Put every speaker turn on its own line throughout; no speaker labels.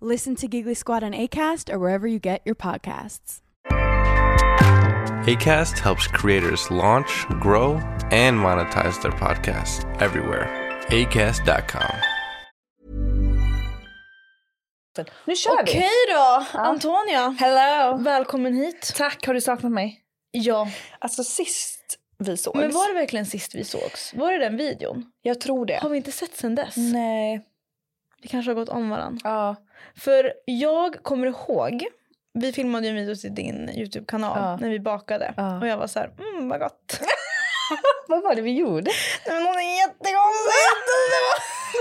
Listen to Giggly Squad on ACAST or wherever you get your podcasts.
ACAST helps creators launch, grow, and monetize their podcasts everywhere. ACAST.com.
Nu kör
Okej
vi!
då,
Ja.
Antonia.
Hello!
Välkommen hit.
Tack, har du saknat mig?
Ja.
Alltså sist vi sågs.
Men var det verkligen sist vi sågs? Var det den videon?
Jag tror det.
Har vi inte sett sen dess?
Nej.
Vi kanske har gått om varandra.
Ja.
För jag kommer ihåg, vi filmade ju en video till din Youtube-kanal
Ja.
när vi bakade.
Ja.
Och jag var så här, mm vad gott.
Vad var det vi gjorde?
Nej, men hon är jättekonstig!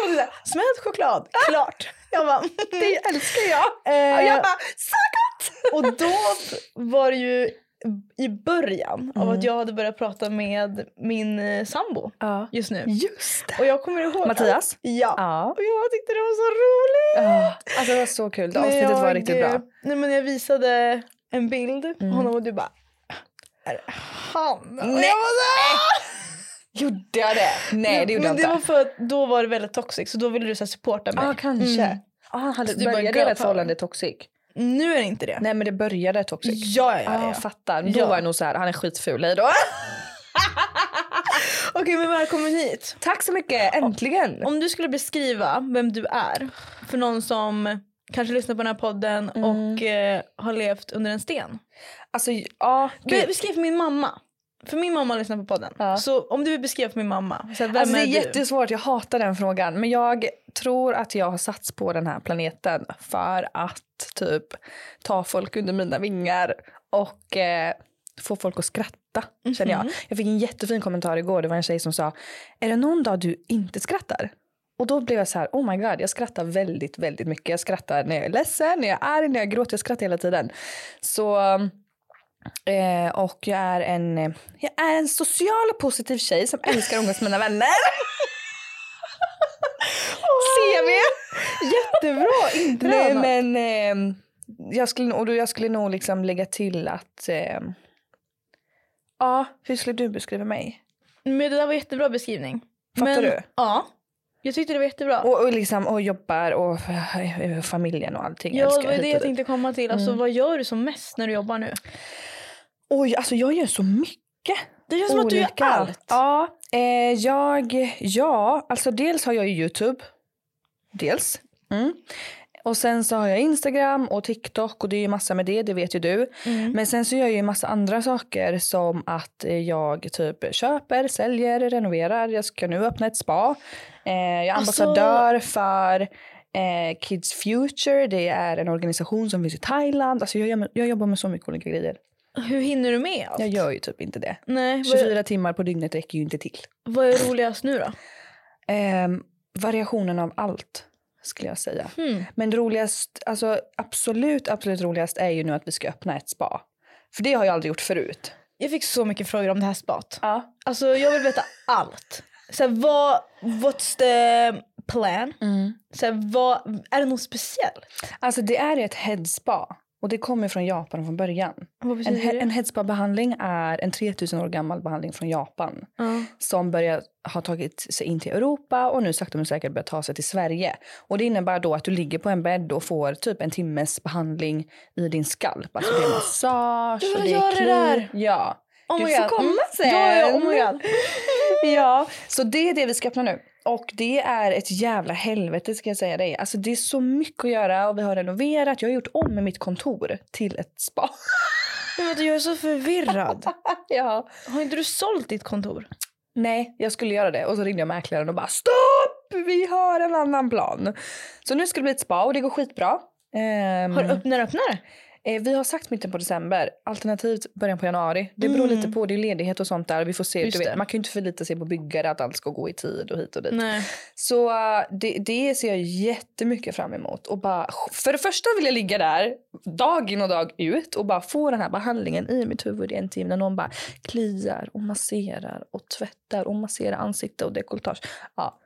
Hon är så här, Smält choklad,
Ah!
klart. Jag bara, mm, det älskar jag.
Eh,
Och jag bara, så gott! Eh, Och då var det ju i början av
Mm.
att jag hade börjat prata med min eh, sambo
Ja.
just nu.
Just det.
Och jag kommer ihåg...
Mattias?
Ja.
Ja.
Och jag tyckte det var så roligt!
ja. Alltså det var så kul. Det
När
avsnittet var
jag,
riktigt
eh,
bra.
Nej, men jag visade en bild
Mm.
honom och du bara, är det han? Och jag
Nej.
bara så här,
Gjorde jag det? Nej det gjorde
men
jag
det var
inte.
för att då var det väldigt toxic så då ville du så här supporta mig.
Ja kanske.
Mm.
Ah, han hade,
Så du bara,
började
girl
ert
power.
förhållande toxic?
Nu är det inte det.
Nej men det började toxic.
Ja, ja, ja.
ah,
ja.
fattar. Men Då
Ja.
var jag nog så här, han är skitful, hej då.
Okej, men välkommen hit.
Tack så mycket, äntligen.
Om du skulle beskriva vem du är för någon som kanske lyssnar på den här podden
Mm.
och eh, har levt under en sten.
Alltså ja,
Be-
gud.
beskriv för min mamma. För min mamma lyssnar på podden.
Ja.
Så om du vill beskriva för min mamma. Så här, vem
Alltså, det är,
du?
jättesvårt, jag hatar den frågan. Men jag tror att jag har satts på den här planeten för att typ ta folk under mina vingar och eh, få folk att skratta. Känner jag. jag fick en jättefin kommentar igår, det var en tjej som sa “Är det någon dag du inte skrattar?” Och då blev jag så här, oh my god, jag skrattar väldigt, väldigt mycket. Jag skrattar när jag är ledsen, när jag är arg, när jag gråter, jag skrattar hela tiden. Så, eh, och jag är en, eh, jag är en social och positiv tjej som älskar att umgås med mina vänner. CV!
jättebra intro.
Nej
Anna.
men ehm, jag skulle, nog- och då, jag skulle nog liksom lägga till att ehm, Ja, hur skulle du beskriva mig?
men det där var jättebra beskrivning.
Fattar
men,
du?
Ja. Jag tyckte det var jättebra.
Och, och liksom, och jobbar och eh, familjen och allting.
ja,
älskar
det var
hit
det
och
jag
dit.
tänkte komma till. Alltså,
Mm.
Vad gör du som mest när du jobbar nu?
Oj, alltså jag gör så mycket.
Det känns som att du gör
olika.
allt.
Ja, eh, jag, ja, alltså dels har jag ju Youtube. Dels. Mm. Och sen så har jag Instagram och TikTok och det är ju massa med det, det vet ju du.
Mm.
Men sen så gör jag ju massa andra saker som att eh, jag typ köper, säljer, renoverar. Jag ska nu öppna ett spa. Eh, jag är
Alltså-
ambassadör för eh, Kids Future. Det är en organisation som finns i Thailand. Alltså jag, gör- jag jobbar med så mycket olika grejer.
Hur hinner du med allt?
Jag gör ju typ inte det.
Nej, vad,
24 timmar på dygnet räcker ju inte till.
vad är roligast nu då?
Ehm, variationen av allt skulle jag säga.
Hmm.
Men roligast, alltså absolut, absolut roligast är ju nu att vi ska öppna ett spa. För det har jag aldrig gjort förut.
Jag fick så mycket frågor om det här spat.
Ja.
Alltså jag vill veta allt. Så här, vad, what's the plan?
Mm.
Så här, vad, är det något speciellt?
Alltså det är ett headspa och det kommer från Japan från början.
Vad
En,
betyder
he-
det?
en headspa-behandling är en 3000 år gammal behandling från Japan
Ja.
som börjar ha tagit sig in till Europa och nu sakta men säkert börjar ta sig till Sverige. Och det innebär då att du ligger på en bädd och får typ en timmes behandling i din skalp. Alltså det är massage
Jag
och
vill
det
göra
är
det
kli-
där.
Ja.
Oh
Du Mm. får
my God.
komma sen.
Ja, ja, oh my god.
Ja, så det är det vi ska öppna nu. Och det är ett jävla helvete ska jag säga dig. Alltså det är så mycket att göra och vi har renoverat. Jag har gjort om mitt kontor till ett spa.
Men vänta, jag är så förvirrad.
ja.
Har inte du sålt ditt kontor?
Nej, jag skulle göra det och så ringde jag mäklaren och bara stopp! Vi har en annan plan. Så nu ska det bli ett spa och det går skitbra. Ehm,
Har du öppnare öppnare?
Eh, vi har sagt mitten på december, alternativt början på januari. Det beror lite på, det är ledighet och sånt där. Vi får se,
Mm. Just
du
det.
vet, man kan ju inte förlita sig på byggare att allt ska gå i tid och hit och dit.
Nej.
Så eh, det, det ser jag jättemycket fram emot. Och bara, för det första vill jag ligga där dag in och dag ut och bara få den här behandlingen i mitt huvud i en timme. När någon bara kliar och masserar och tvättar och masserar ansikte och dekolletage. Ja.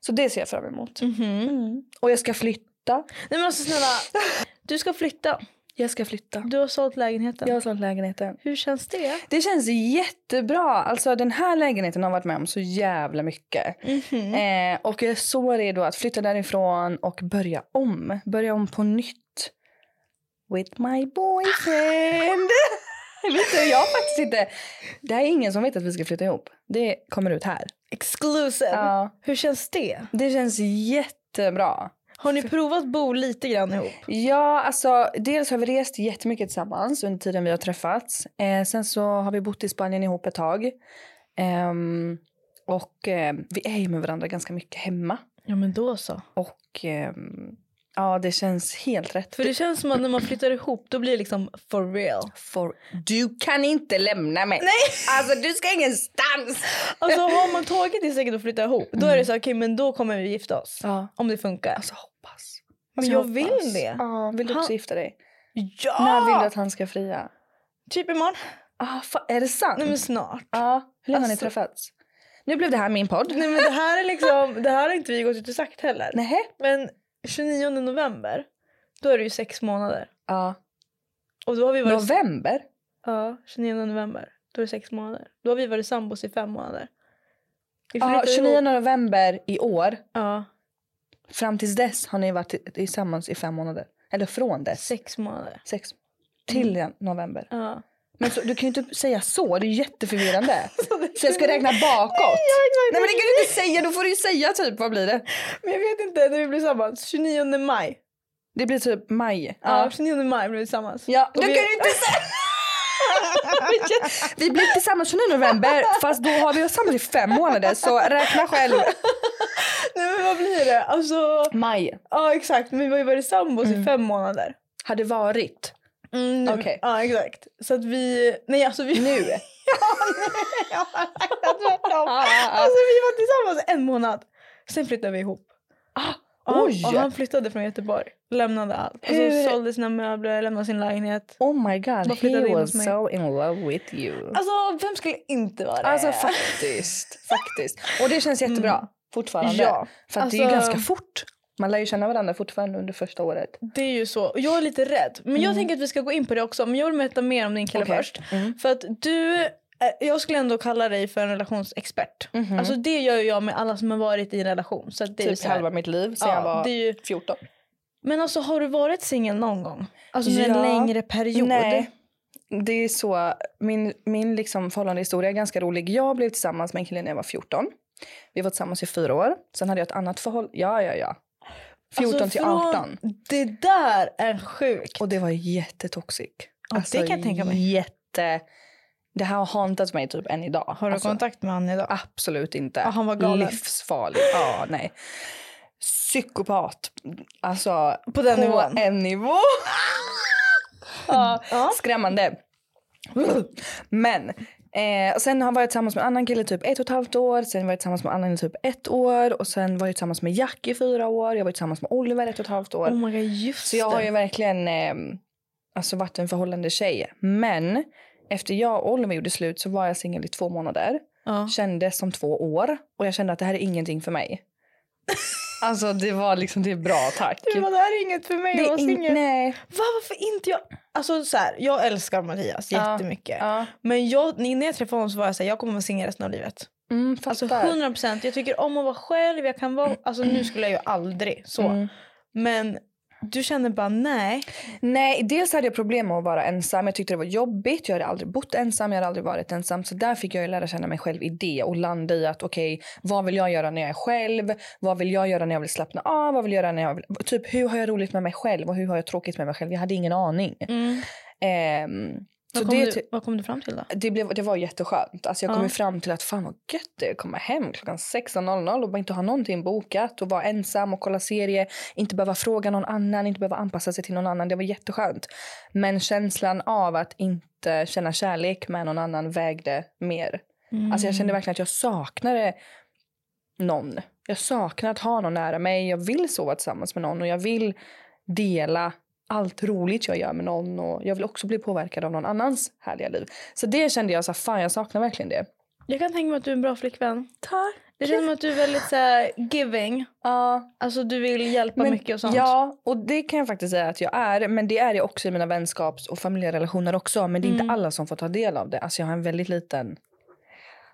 Så det ser jag fram emot. Mm. Och jag ska flytta.
Mm-hmm. Nej men alltså snälla. Du ska flytta.
Jag ska flytta.
Du har sålt lägenheten.
Jag har sålt lägenheten.
Hur känns det?
Det känns jättebra. Alltså den här lägenheten har jag varit med om så jävla mycket. Eh, och jag är så redo att flytta därifrån och börja om. Börja om på nytt. With my
Ehm,
boyfriend. Vet du, jag har faktiskt inte... Det här är ingen som vet att vi ska flytta ihop. Det kommer ut här.
Exclusive.
Ja.
Hur känns det?
Det känns jättebra.
Har ni provat bo lite grann ihop?
Ja, alltså dels har vi rest jättemycket tillsammans under tiden vi har träffats. Eh, sen så har vi bott i Spanien ihop ett tag. Ehm, och eh, vi är ju med varandra ganska mycket hemma.
Ja men då så.
Och ehm, ja, det känns helt rätt.
För det känns som att när man flyttar ihop då blir det liksom for real.
For, du kan inte lämna mig! Nej. Alltså du ska ingenstans!
Alltså har man tagit det steget att flytta ihop då är det så här, okej men då kommer vi gifta oss.
Ja.
Om det funkar.
Alltså hoppas.
men
Alltså,
jag vill
hoppas.
det.
Ja, vill du också
Han-
gifta dig?
Ja!
När vill du att han ska fria?
Typ imorgon.
Ah, fa- är det sant?
Nej men snart.
Ja, hur länge har ni
Alltså-
träffats? Nu blev det här min podd.
Nej men det här är liksom, det här har inte vi gått ut och sagt heller.
Nej.
Men 29 november, då är det ju sex månader.
Ja.
Och då har vi varit...
November?
Ja, 29 november. Då är det sex månader. Då har vi varit sambos i fem månader. Vi
Ja,
flyttade
29
ihop-
november i år.
Ja,
Fram tills dess har ni varit i- tillsammans i fem månader. Eller från dess.
sex månader.
Sex. Mm. Till november.
Ja.
Men så, du kan ju inte säga så, det är jätteförvirrande. så jag ska räkna bakåt. Nej men det kan du inte säga, då får du ju säga typ, vad blir det?
Men jag vet inte, när vi blev tillsammans, 29 maj.
Det blir typ maj.
Ja,
Ja.
29 maj blev vi tillsammans.
ja.
Och
Du
vi-
kan ju inte säga! Vi blev tillsammans 29 november fast då har vi varit tillsammans i fem månader så räkna själv.
Nej men vad blir det? Alltså,
Maj
ja exakt, men vi har ju varit sambos i fem månader.
hade varit.
Mm, nu-
Okej.
Ja exakt. Så att vi, nej alltså vi... Nu? ja, nej, jag har tvärtom. Alltså vi var tillsammans en månad. Sen flyttade vi ihop. Ah,
oj.
Och han flyttade från Göteborg. Lämnade allt. Alltså
Hur-
sålde sina möbler, lämnade sin lägenhet.
Oh my god,
Bara
he
flyttade in
was
hos mig.
so in love with you.
Alltså vem skulle inte vara det? Mm.
Alltså faktiskt, faktiskt. Och det känns jättebra fortfarande.
Ja.
För att det är ju
Alltså-
ganska fort. Man lär ju känna varandra fortfarande under första året.
Det är ju så. Och Jag är lite rädd. Men jag tänker att vi ska gå in på det också. Men jag vill veta mer om din kille
Mm. Okej.
först. För att du, eh, jag skulle ändå kalla dig för en relationsexpert. Alltså det gör ju jag med alla som har varit i en relation. Så att det är
Mhm. Typ
så här-
halva mitt liv sen jag
Ja,
var
det är ju,
14.
men alltså har du varit singel någon gång? Alltså under
Ja.
en längre period?
Nej. Det är så, min, min liksom förhållandehistoria är ganska rolig. Jag blev tillsammans med en kille när jag var 14. Vi var tillsammans i fyra år. Sen hade jag ett annat förhållande. Ja, ja, ja. 14
Alltså,
till
från-
18.
Det där är sjukt.
Och det var jättetoxic. Alltså,
Ja, det kan jag tänka mig.
Jätte... Det här har hantat mig typ än idag.
har du
Alltså,
kontakt med honom idag?
Absolut inte.
Ja, han var galen.
Livsfarlig. Ja, nej. Psykopat. Alltså,
På den nivån.
en nivå. ja, Skrämmande. Men eh, och sen har jag varit tillsammans med en annan kille i typ ett och ett halvt år. Sen var jag tillsammans med en annan i typ ett år. Och sen var jag tillsammans med Jack i fyra år. Jag var tillsammans med Oliver ett och ett halvt år.
Oh my god, just
Så jag har ju
det.
verkligen eh, alltså varit en förhållande tjej. Men efter jag och Oliver gjorde slut så var jag singel i två månader.
Ja.
Kändes som två år. Och jag kände att det här är ingenting för mig. alltså det var liksom, det är bra tack.
Du, men det här är inget för mig
Det
att
är
vara
in-
singel.
Nej.
Va, varför inte jag? Alltså så här, jag älskar Mattias
Ja.
jättemycket.
Ja.
Men jag, innan jag träffade honom så var jag så här, jag kommer vara singel resten av livet.
Mm,
Alltså
fattar.
100 procent. Jag tycker om att vara själv. Jag kan vara, alltså nu skulle jag ju aldrig så.
Mm.
Men du känner bara nej.
Nej, dels hade jag problem med att vara ensam. Jag tyckte det var jobbigt. Jag hade aldrig bott ensam, jag hade aldrig varit ensam. Så där fick jag ju lära känna mig själv i det och landa i att okej, vad vill jag göra när jag är själv? Vad vill jag göra när jag vill slappna av? Vad vill jag göra när jag vill... Typ hur har jag roligt med mig själv och hur har jag tråkigt med mig själv? Jag hade ingen aning. Ehm, Så
Mm. Vad kom,
det är
du,
typ-
vad kom du fram till då?
Det, blev, det var jätteskönt. Alltså jag kom
Ja.
ju fram till att fan vad gött det är att komma hem klockan 16.00 och bara inte ha någonting bokat och vara ensam och kolla serie. Inte behöva fråga någon annan, inte behöva anpassa sig till någon annan. Det var jätteskönt. Men känslan av att inte känna kärlek med någon annan vägde mer.
Mm.
Alltså jag kände verkligen att jag saknade någon. Jag saknar att ha någon nära mig. Jag vill sova tillsammans med någon och jag vill dela allt roligt jag gör med någon och jag vill också bli påverkad av någon annans härliga liv. Så det kände jag så här, fan jag saknar verkligen det.
Jag kan tänka mig att du är en bra flickvän.
Tack.
Det känns som att du är väldigt så här, giving.
Ja,
Alltså du vill hjälpa
men-
mycket och sånt.
Ja, och det kan jag faktiskt säga att jag är. Men det är jag också i mina vänskaps och familjerelationer också. Men det är
Mm.
inte alla som får ta del av det. Alltså jag har en väldigt liten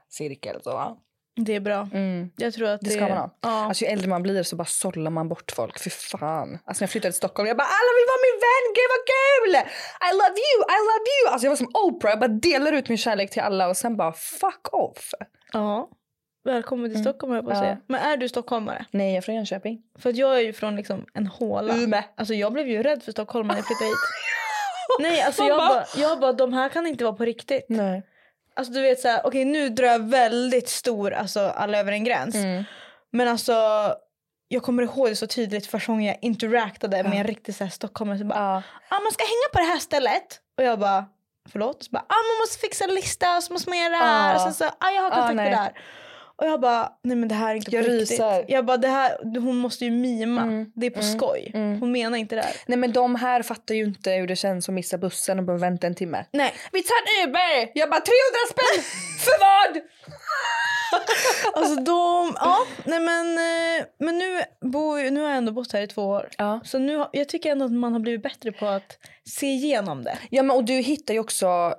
cirkel. Så. va?
Det är bra.
Mm.
Jag tror att det,
Det ska man ha.
Ja.
Alltså ju äldre man blir så bara sållar man bort folk. Fy fan. Alltså när jag flyttade till Stockholm jag bara alla vill vara min vän, gud vad kul! I love you, I love you! Alltså jag var som Oprah, jag bara delar ut min kärlek till alla och sen bara fuck off.
ja. Välkommen till
Mm.
Stockholm höll jag på att
Ja.
säga. Men är du stockholmare?
Nej jag är från Jönköping.
För att jag är ju från liksom en håla.
Ume.
Alltså jag blev ju rädd för Stockholm när jag flyttade hit. Nej alltså
Man
jag
bara-
bara, jag bara de här kan inte vara på riktigt.
Nej.
Alltså du vet så här, okej nu drar jag väldigt stor, alltså alla över en gräns.
Mm.
Men alltså jag kommer ihåg det så tydligt första gången jag interactade med en riktig så här stockholmare som bara
Ja.
ah, man ska hänga på det här stället. Och jag bara, förlåt? Så bara, ah, man måste fixa en lista och så måste man göra det här.
Ah.
Och sen så, ah, jag har
Ah,
kontakter
nej.
där. Och jag bara, nej men det här är inte
Jag
på riktigt.
ryser.
Jag bara, det här, hon måste ju mima.
Mm,
Det är på
mm,
skoj.
mm.
Hon menar inte det här.
Nej men de här fattar ju inte hur det känns att missa bussen och behöva vänta en timme.
Nej.
Vi tar en Uber! Jag bara 300 spänn! för vad?
Alltså de, ja, nej men, eh, men nu, bor, nu har jag ändå bott här i två år.
Ja.
Så nu, har- jag tycker ändå att man har blivit bättre på att se igenom det.
Ja, men och du hittar ju också...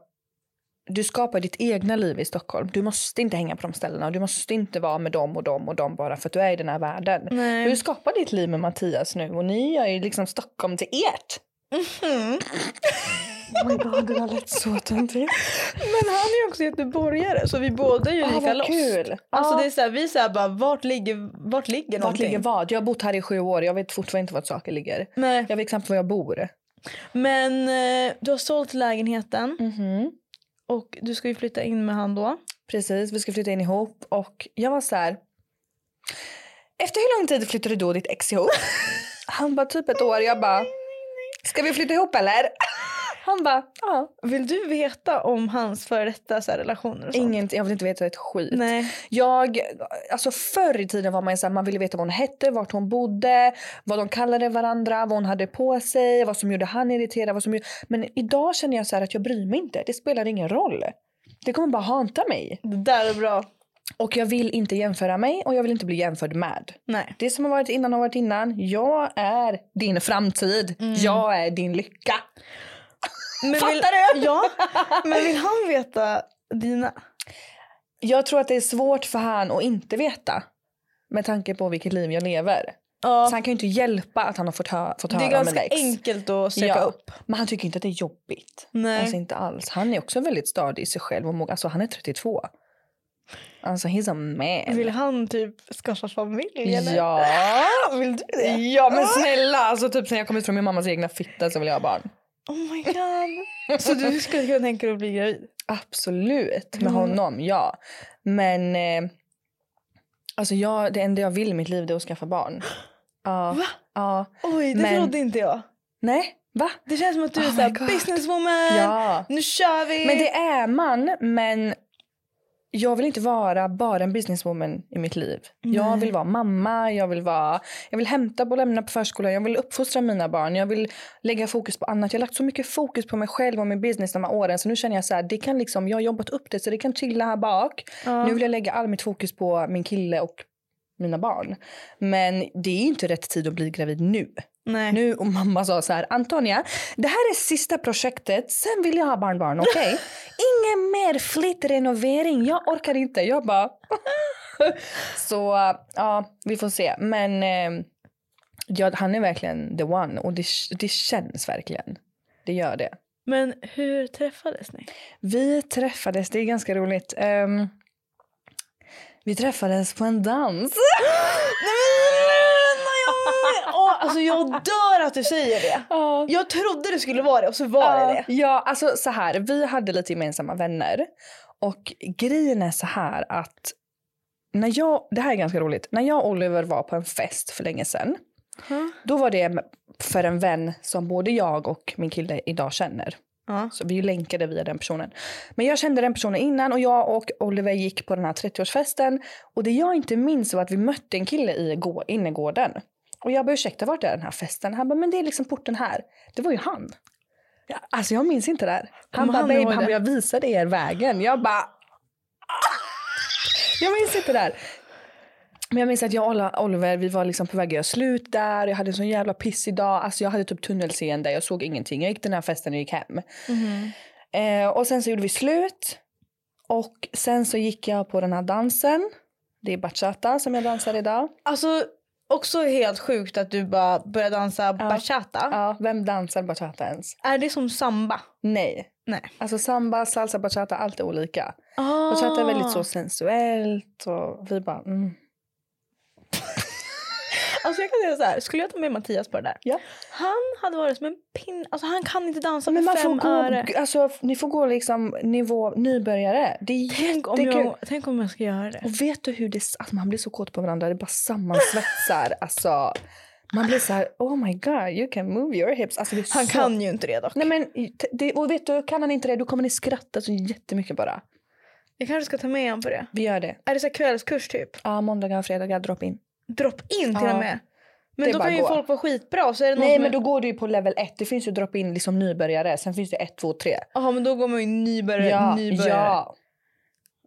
Du skapar ditt egna liv i Stockholm. Du måste inte hänga på de ställena och du måste inte vara med dem och dem och dem bara för att du är i den här världen.
Nej.
Du skapar ditt liv med Mattias nu och ni gör ju liksom Stockholm till ert.
Mm.
oh my god, det där lät så töntigt.
Men han är ju också göteborgare så vi båda är ju
Ah,
lika
vad
lost.
kul.
Alltså
Ah.
det är såhär, vi är såhär bara vart ligger, vart ligger
Vart
någonting?
ligger vad? Jag har bott här i sju år. Jag vet fortfarande inte vart saker ligger.
Nej.
Jag vet knappt var jag bor.
Men eh, du har sålt lägenheten
Mhm.
och du ska ju flytta in med han då.
Precis, vi ska flytta in ihop och jag var så här. Efter hur lång tid flyttade du och ditt ex ihop? Han bara typ ett år. Jag bara. Ska vi flytta ihop eller? Han bara. Ja.
Vill du veta om hans före detta så här, relationer och sånt?
Inget, jag vill inte veta ett skit.
Nej.
Jag, alltså förr i tiden var man ju så här, man ville veta vad hon hette, vart hon bodde, vad de kallade varandra, vad hon hade på sig, vad som gjorde han irriterad. Vad som gjorde... Men idag känner jag så här att jag bryr mig inte. Det spelar ingen roll. Det kommer bara hanta mig.
Det där är bra.
Och jag vill inte jämföra mig och jag vill inte bli jämförd med.
Nej.
Det som har varit innan har varit innan. Jag är din framtid.
Mm.
Jag är din lycka.
Men
Fattar
vill, du? Ja. Men vill han veta dina?
Jag tror att det är svårt för han att inte veta. Med tanke på vilket liv jag lever. Så
Ja.
han kan ju inte hjälpa att han har fått, hö- fått
Det är
höra om en
ganska
ex.
enkelt att söka
Ja.
upp.
Men han tycker inte att det är jobbigt.
Nej.
Alltså inte alls. Han är också väldigt stadig i sig själv. Och må- alltså han är 32. Alltså he's a man.
Vill han typ skaffa familj eller?
Ja.
Vill du det?
ja men snälla. Alltså typ sen jag kommit från min mammas egna fitta så vill jag ha barn.
Oh my god. Så du skulle kunna tänka dig att bli gravid?
Absolut, med
Mm.
honom, ja. Men eh, alltså jag, det enda jag vill i mitt liv det är att skaffa barn. Ja.
Va?
ja.
Oj, det
Men-
trodde inte jag.
Nej, va?
Det känns som att du är
Oh my
såhär
God.
businesswoman.
Ja.
Nu kör vi!
Men det är man, men jag vill inte vara bara en businesswoman i mitt liv. Jag
Nej.
vill vara mamma, jag vill, vara, jag vill hämta och lämna på förskolan, jag vill uppfostra mina barn, jag vill lägga fokus på annat. Jag har lagt så mycket fokus på mig själv och min business de här åren så nu känner jag så här, det kan liksom, jag har jobbat upp det så det kan chilla här bak.
Ja.
Nu vill jag lägga all mitt fokus på min kille och mina barn. Men det är inte rätt tid att bli gravid nu.
Nej.
Nu och mamma sa så här, Antonia, det här är sista projektet, sen vill jag ha barnbarn, okej? Ingen mer flyttrenovering, jag orkar inte. Jag bara... så ja, vi får se. Men eh, ja, han är verkligen the one och det, det känns verkligen. Det gör det.
Men hur träffades ni?
Vi träffades, det är ganska roligt. Ehm, vi träffades på en dans.
Nej, men, nej, nej, nej, nej. Åh, Alltså jag dör att du säger det.
Ja.
Jag trodde det skulle vara det och så var det det.
Ja, alltså så här. Vi hade lite gemensamma vänner. Och grejen är så här att... När jag, det här är ganska roligt. När jag och Oliver var på en fest för länge sedan. Då var det för en vän som både jag och min kille idag känner.
Ja.
Så vi är ju länkade via den personen. Men jag kände den personen innan och jag och Oliver gick på den här 30-årsfesten. Och det jag inte minns var att vi mötte en kille i gå- innergården. Och jag bara ursäkta vart är den här festen? Han bara men det är liksom porten här. Det var ju han. Ja, Alltså jag minns inte det här. Han
Kommer
bara
han
babe
ihåg
han
det?"
bara, jag visade er vägen. Jag bara "Ah!" jag minns inte det här. Men jag minns att jag och Ola- Oliver vi var liksom på väg att göra slut där. Jag hade en sån jävla pissig dag. Alltså jag hade typ tunnelseende. Jag såg ingenting. Jag gick till den här festen och gick hem. Eh, och sen så gjorde vi slut. Och sen så gick jag på den här dansen. Det är bachata som jag dansar idag.
Alltså också helt sjukt att du bara börjar dansa bachata.
Ja, vem dansar bachata ens?
Är det som samba?
Nej.
Nej.
Alltså samba, salsa, bachata, allt är olika.
Ah.
Bachata är väldigt så sensuellt och vi bara mm.
Alltså jag kan säga så här, skulle jag ta med Mattias på det där?
Ja.
Han hade varit som en pinne, alltså han kan inte dansa
Men
med
man får
fem öre.
gå, alltså, ni får gå liksom nivå nybörjare. Det är
Tänk om,
jättekul.
jag, tänk om jag ska göra det.
Och vet du hur det, att man blir så kåt på varandra, det bara sammansvetsar. alltså, man blir så här, oh my god, you can move your hips. Alltså, det är
Han
så...
kan ju inte det dock.
Nej men, t- det, och vet du, kan han inte det, då kommer ni skratta så jättemycket bara.
Jag kanske ska ta med honom på det.
Vi gör det.
Är det så här kvällskurs typ?
Ja, måndagar och fredagar, drop in.
Drop in till
Ja.
och med. Men
Det är
då
bara
kan ju
gå.
folk vara skitbra och så är det någon
Nej
som
men
är-
då går du ju på level 1, det finns ju drop in liksom nybörjare, sen finns det 1, 2, 3.
Jaha men då går man ju nybörjare,
Ja,
nybörjare.
ja.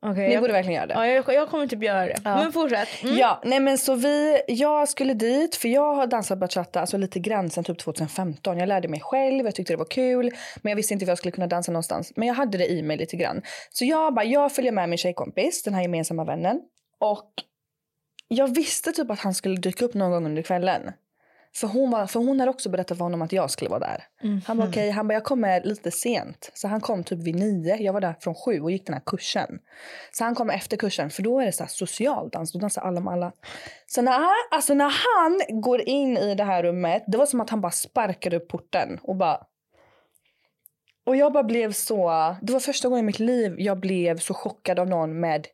Okej,
Ni
jag,
borde verkligen göra det.
ja, jag, jag kommer typ göra det. Men fortsätt. Mm.
Ja, nej men så vi, jag skulle dit för jag har dansat bachata alltså lite grann sen typ 2015. Jag lärde mig själv, jag tyckte det var kul, men jag visste inte var jag skulle kunna dansa någonstans. Men jag hade det i mig lite grann. Så jag bara, jag följer med min tjejkompis, den här gemensamma vännen. Och jag visste typ att han skulle dyka upp någon gång under kvällen. För hon, var, för hon hade också berättat för honom att jag skulle vara där. Han bara okej, han bara jag kommer lite sent. Så han kom typ vid nio, jag var där från sju och gick den här kursen. Så han kom efter kursen för då är det så här social dans, då dansar alla med alla. Så när han, alltså när han går in i det här rummet, det var som att han bara sparkade upp porten och bara och jag bara blev så, det var första gången i mitt liv jag blev så chockad av någon med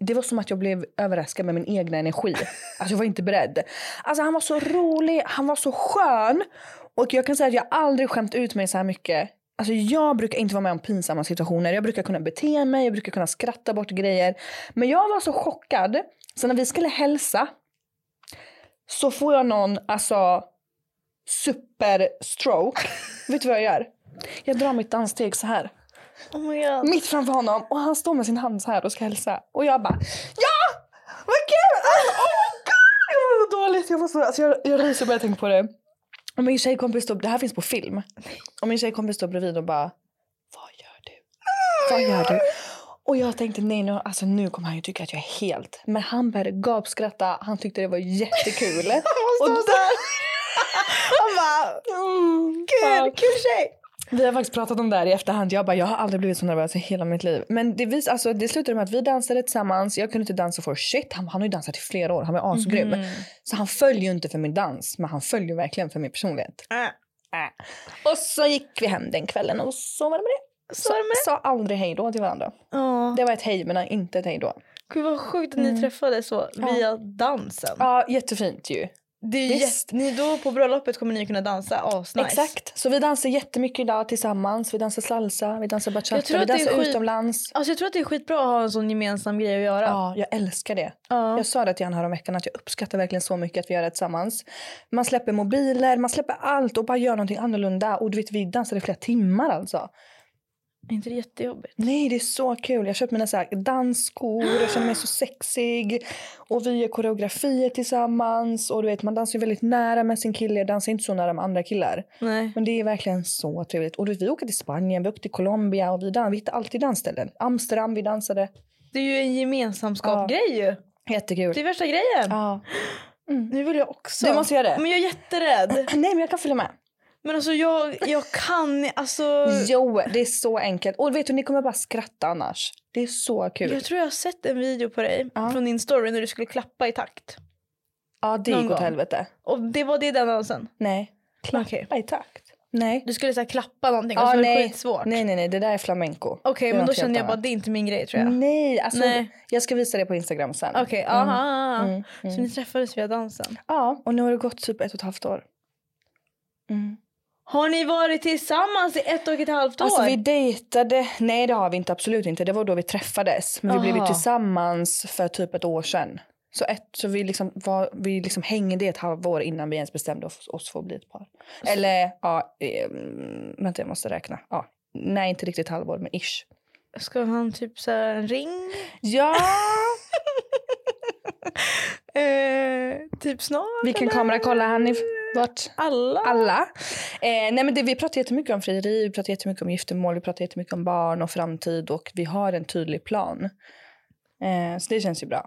det var som att jag blev överraskad med min egna energi. Alltså jag var inte beredd. Alltså han var så rolig, han var så skön. Och jag kan säga att jag aldrig skämt ut mig så här mycket. Alltså jag brukar inte vara med om pinsamma situationer. Jag brukar kunna bete mig, jag brukar kunna skratta bort grejer. Men jag var så chockad. Så när vi skulle hälsa så får jag någon alltså superstroke. Vet du vad jag gör? Jag drar mitt danssteg så här
Oh my god.
mitt framför honom och han står med sin hand så här och ska hälsa. Och jag bara ja! Vad kul! Ah, Oh my god! Jag var så dåligt. Jag, var så, alltså jag, jag ryser bara jag tänker på det. Och min tjejkompis står, det här finns på film. Och min tjejkompis står bredvid och bara vad gör du? Vad gör du? Och jag tänkte nej nu, alltså nu kommer han ju tycka att jag är helt. Men han började gapskratta. Han tyckte det var jättekul. och där,
Han bara,
Ja.
kul, kul tjej.
Vi har faktiskt pratat om det här i efterhand. Jag bara, jag har aldrig blivit så nervös i hela mitt liv. Men det, vis, alltså, det slutade med att vi dansade tillsammans. Jag kunde inte dansa för shit. Han, han har ju dansat i flera år. Han är asgrym.
Mhm.
Så han följer ju inte för min dans. Men han följer ju verkligen för min personlighet. Äh.
Äh.
Och så gick vi hem den kvällen och så var det med det.
Så var det med
Sa aldrig hej då till varandra.
Ja.
Det var ett hej men inte ett hej då.
Gud vad sjukt att ni träffades så via dansen.
Mm. Ja, jättefint ju.
Det är
Visst.
jätte, ni då på bröllopet kommer ni kunna dansa asnice.
Exakt. Så vi dansar jättemycket idag tillsammans. Vi dansar salsa, vi dansar
Jag
bachata,
tror
vi
att det är
dansar
skit-
utomlands.
Alltså jag tror att det är skitbra att ha en sån gemensam grej att göra.
Ja, jag älskar det.
Ja.
Jag sa det till han häromveckan att jag uppskattar verkligen så mycket att vi gör det tillsammans. Man släpper mobiler, man släpper allt och bara gör någonting annorlunda. Och du vet, vi dansade i flera timmar alltså.
Är inte det jättejobbigt?
Nej, det är så kul. Jag köpte mina så här dansskor, jag känner mig så sexig. Och vi gör koreografier tillsammans. Och du vet, man dansar ju väldigt nära med sin kille. Jag dansar inte så nära med andra killar.
Nej.
Men det är verkligen så trevligt. Och du vet, vi åker till Spanien, vi åker till Colombia och vi, dan- vi hittar alltid dansställen. Amsterdam, vi dansade.
Det är ju en gemensamskapsgrej ju.
Jättekul.
Det är värsta grejen.
Ja.
Nu vill jag också.
Du måste göra det.
Men jag är jätterädd.
Nej, men jag kan följa med.
Men alltså jag, jag kan alltså.
Jo, det är så enkelt. Och vet du, ni kommer bara skratta annars. Det är så kul.
Jag tror jag har sett en video på dig
Ja.
från din story när du skulle klappa i takt.
Ja, det
Någon
gick åt
gång.
helvete.
Och det var det den dansen?
Nej. Klappa
Okej.
i takt. Nej.
Du skulle så här, klappa någonting och
Ja,
så var det
nej.
skitsvårt.
Nej, nej, nej. Det där är flamenco.
Okej,
Det är
men då
något
kände
helt
jag bara
annat.
det är inte min grej tror jag.
Nej, alltså
Nej.
jag ska visa det på Instagram sen.
Okej, aha.
Mm,
Så
mm.
ni träffades via dansen.
Ja, och nu har det gått typ ett och ett halvt år. Mm.
Har ni varit tillsammans i ett och ett halvt år?
Alltså vi dejtade, nej det har vi inte, absolut inte. Det var då vi träffades. Men vi blev ju
Aha.
tillsammans för typ ett år sedan. Så, ett, så vi, liksom var, vi liksom hängde ett halvår innan vi ens bestämde oss, oss för att bli ett par. Eller ja, eh, vänta jag måste räkna. Ja, nej inte riktigt halvår men ish.
Ska han typ så här, en ring?
Ja!
Eh, typ snart?
Vilken
eller?
kamera kollar han i? Vart?
Alla?
alla. Eh, nej men det, vi pratar jättemycket om frieri, vi pratar jättemycket om giftermål, vi pratar jättemycket om barn och framtid och vi har en tydlig plan. Eh, så det känns ju bra.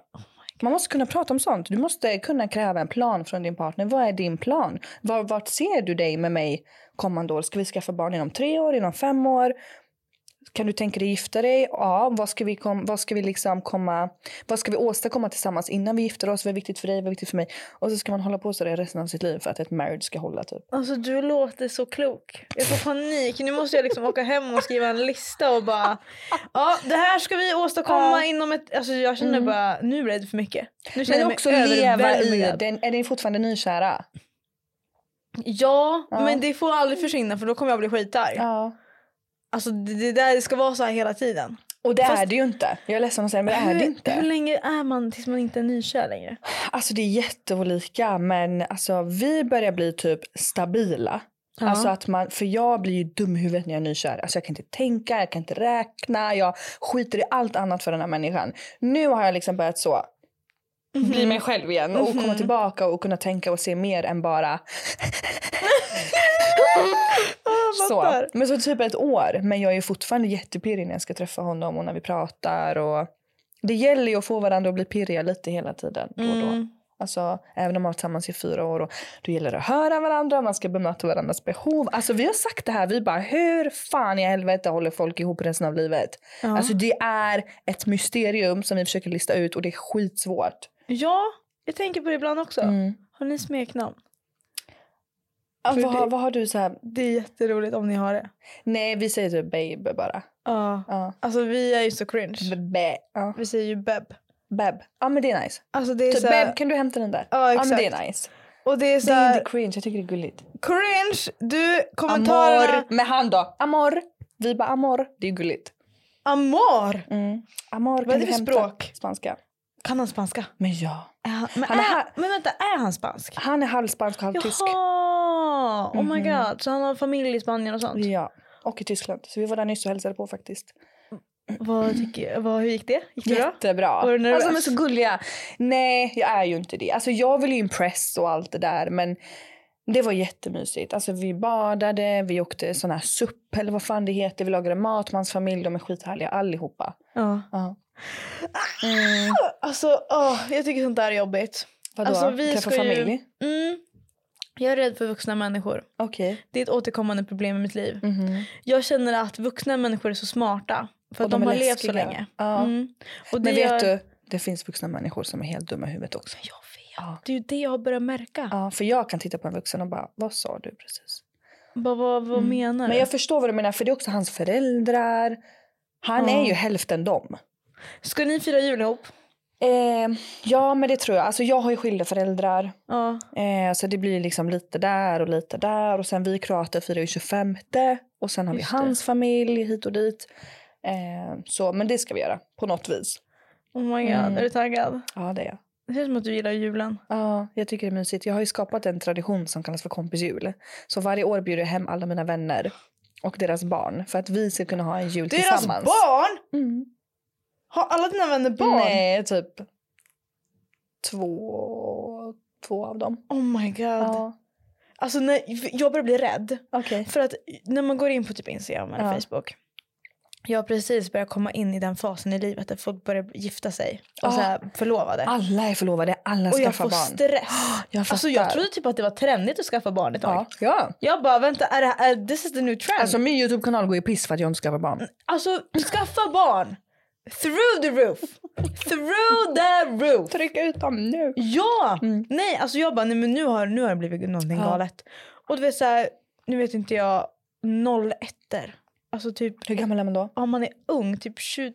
Man måste kunna prata om sånt. Du måste kunna kräva en plan från din partner. Vad är din plan? Var, vart ser du dig med mig kommande år? Ska vi skaffa barn inom tre år, inom fem år? Kan du tänka dig gifta dig? Ja, vad ska vi, kom, vad ska vi liksom komma... Vad ska vi åstadkomma tillsammans innan vi gifter oss? Vad är viktigt för dig? Vad är viktigt för mig? Och så ska man hålla på så där resten av sitt liv för att ett marriage ska hålla typ.
Alltså du låter så klok. Jag får panik. Nu måste jag liksom åka hem och skriva en lista och bara ja det här ska vi åstadkomma
Ja. Mm.
inom ett... Alltså jag känner bara nu blev det för mycket. Nu känner
Men
jag
också
mig
leva i
överväldigad.
den. Är ni fortfarande nykära?
Ja,
Ja.
men det får aldrig försvinna för då kommer jag bli skitarg.
Ja.
Alltså det, det där det ska vara så här hela tiden.
Och det
Fast-
är det ju inte. Jag är ledsen att säga men det är det
hur, hur
inte.
länge är man tills man inte är nykär längre?
Alltså det är jätteolika men alltså vi börjar bli typ stabila. Alltså att man, för jag blir ju dum i huvudet när jag är nykär. Alltså jag kan inte tänka, jag kan inte räkna, jag skiter i allt annat för den här människan. Nu har jag liksom börjat så, bli mig själv igen och komma tillbaka och kunna tänka och se mer än bara så.
fattar.
Men så typ ett år. Men jag är ju fortfarande jättepirrig när jag ska träffa honom och när vi pratar. Och det gäller ju att få varandra att bli pirriga lite hela tiden. Då och då.
Mm.
Alltså, även om man har varit tillsammans i fyra år. Och då gäller det att höra varandra, man ska bemöta varandras behov. Alltså vi har sagt det här, vi bara hur fan i helvete håller folk ihop resten av livet?
Ja.
Alltså det är ett mysterium som vi försöker lista ut och det är skitsvårt.
ja, jag tänker på det ibland också.
Mm.
Har ni smeknamn?
Ja,
För
vad,
det-
vad har du så här?
Det är jätteroligt om ni har det.
Nej vi säger typ babe bara.
Ja.
Ja.
Alltså vi är ju så cringe.
Bebe. Ja.
Vi säger ju beb.
Beb. Ja men det är nice.
Alltså det är
Typ
så här-
beb kan du hämta den där?
Ja
Ja men
exakt.
det är nice.
Och det är så
Det är
här,
inte cringe, jag tycker det är gulligt.
cringe, du kommentarerna.
Amor. Med han då. Amor. Vi bara amor. Det är gulligt.
Amor!
Mm. Amor
Vad är det för språk?
Spanska.
Kan han spanska?
Men ja.
Är han- Men,
Han är
är,
här-
men vänta, är han spansk?
Han är halvspansk och halvtysk.
Jaha! Oh my
Mhm.
god, så han har familj i Spanien och sånt?
Ja. Och i Tyskland. Så vi var där nyss och hälsade på faktiskt.
Vad tycker, vad, hur gick det? Gick det bra?
Jättebra.
Var du nervös?
Alltså de är så gulliga. Nej, jag är ju inte det. Alltså jag vill ju impress och allt det där men det var jättemysigt. Alltså vi badade, vi åkte sån här SUP eller vad fan det heter. Vi lagade mat med hans familj. De är skithärliga allihopa.
Ja.
Ja.
Alltså, åh, jag tycker sånt där är jobbigt.
Vadå?
Alltså, vi
Träffa
ska ju-
familj?
Mm. Jag är rädd för vuxna människor.
Okej.
Det är ett återkommande problem i mitt liv.
Mhm.
Jag känner att vuxna människor är så smarta för
Och
att de,
de är
har levt så
läskiga.
länge.
Ja.
Mm. Och det
Men
gör-
vet du, det finns vuxna människor som är helt dumma i huvudet också.
Jag vet.
Ja.
Det är ju det jag har börjat märka.
Ja, för jag kan titta på en vuxen och bara, vad sa du precis?
Bara, vad vad menar du?
Mm. Men jag förstår vad du menar, för det är också hans föräldrar. Han
Ja.
är ju hälften dem.
Ska ni fira jul ihop?
Eh, ja, men det tror jag. Alltså, jag har ju skilda föräldrar.
Ja.
Eh, så det blir liksom lite där och lite där. Och sen vi kroater firar ju 25 och sen har
Just
vi
det.
hans familj hit och dit. Eh, så, men det ska vi göra på något vis.
Oh my god,
Mm.
är du taggad?
Ja, det är jag.
Det känns som att du gillar julen.
Ja, jag tycker det är mysigt. Jag har ju skapat en tradition som kallas för kompisjul. Så varje år bjuder jag hem alla mina vänner och deras barn för att vi ska kunna ha en jul tillsammans.
barn?
Mm.
Har alla dina vänner barn?
Nej, typ två, två av dem.
Oh my god.
Ja,
Alltså när, jag börjar bli rädd.
okej.
För att när man går in på typ Instagram eller
Ja.
Facebook. Jag har precis börjat komma in i den fasen i livet där folk börjar gifta sig och
Ja.
så här förlovade.
Alla är förlovade, alla
och jag
skaffar
får
barn.
stress.
Jag
alltså jag
fattar.
trodde typ att det var trendigt att skaffa barn ett tag.
Ja. ja.
Jag bara vänta, är det här, är, this is the new trend.
Alltså min Youtube-kanal går ju piss för att jag inte skaffar barn.
Alltså skaffa barn! Through the roof! Through the roof!
Tryck ut dem nu.
Ja!
Mm.
Nej, alltså jag bara, nej men nu har, nu har det blivit någonting
Ja.
galet. Och du vet så här, nu vet inte jag, 01 Alltså typ,
Hur gammal är man då?
ja man är ung, typ 20,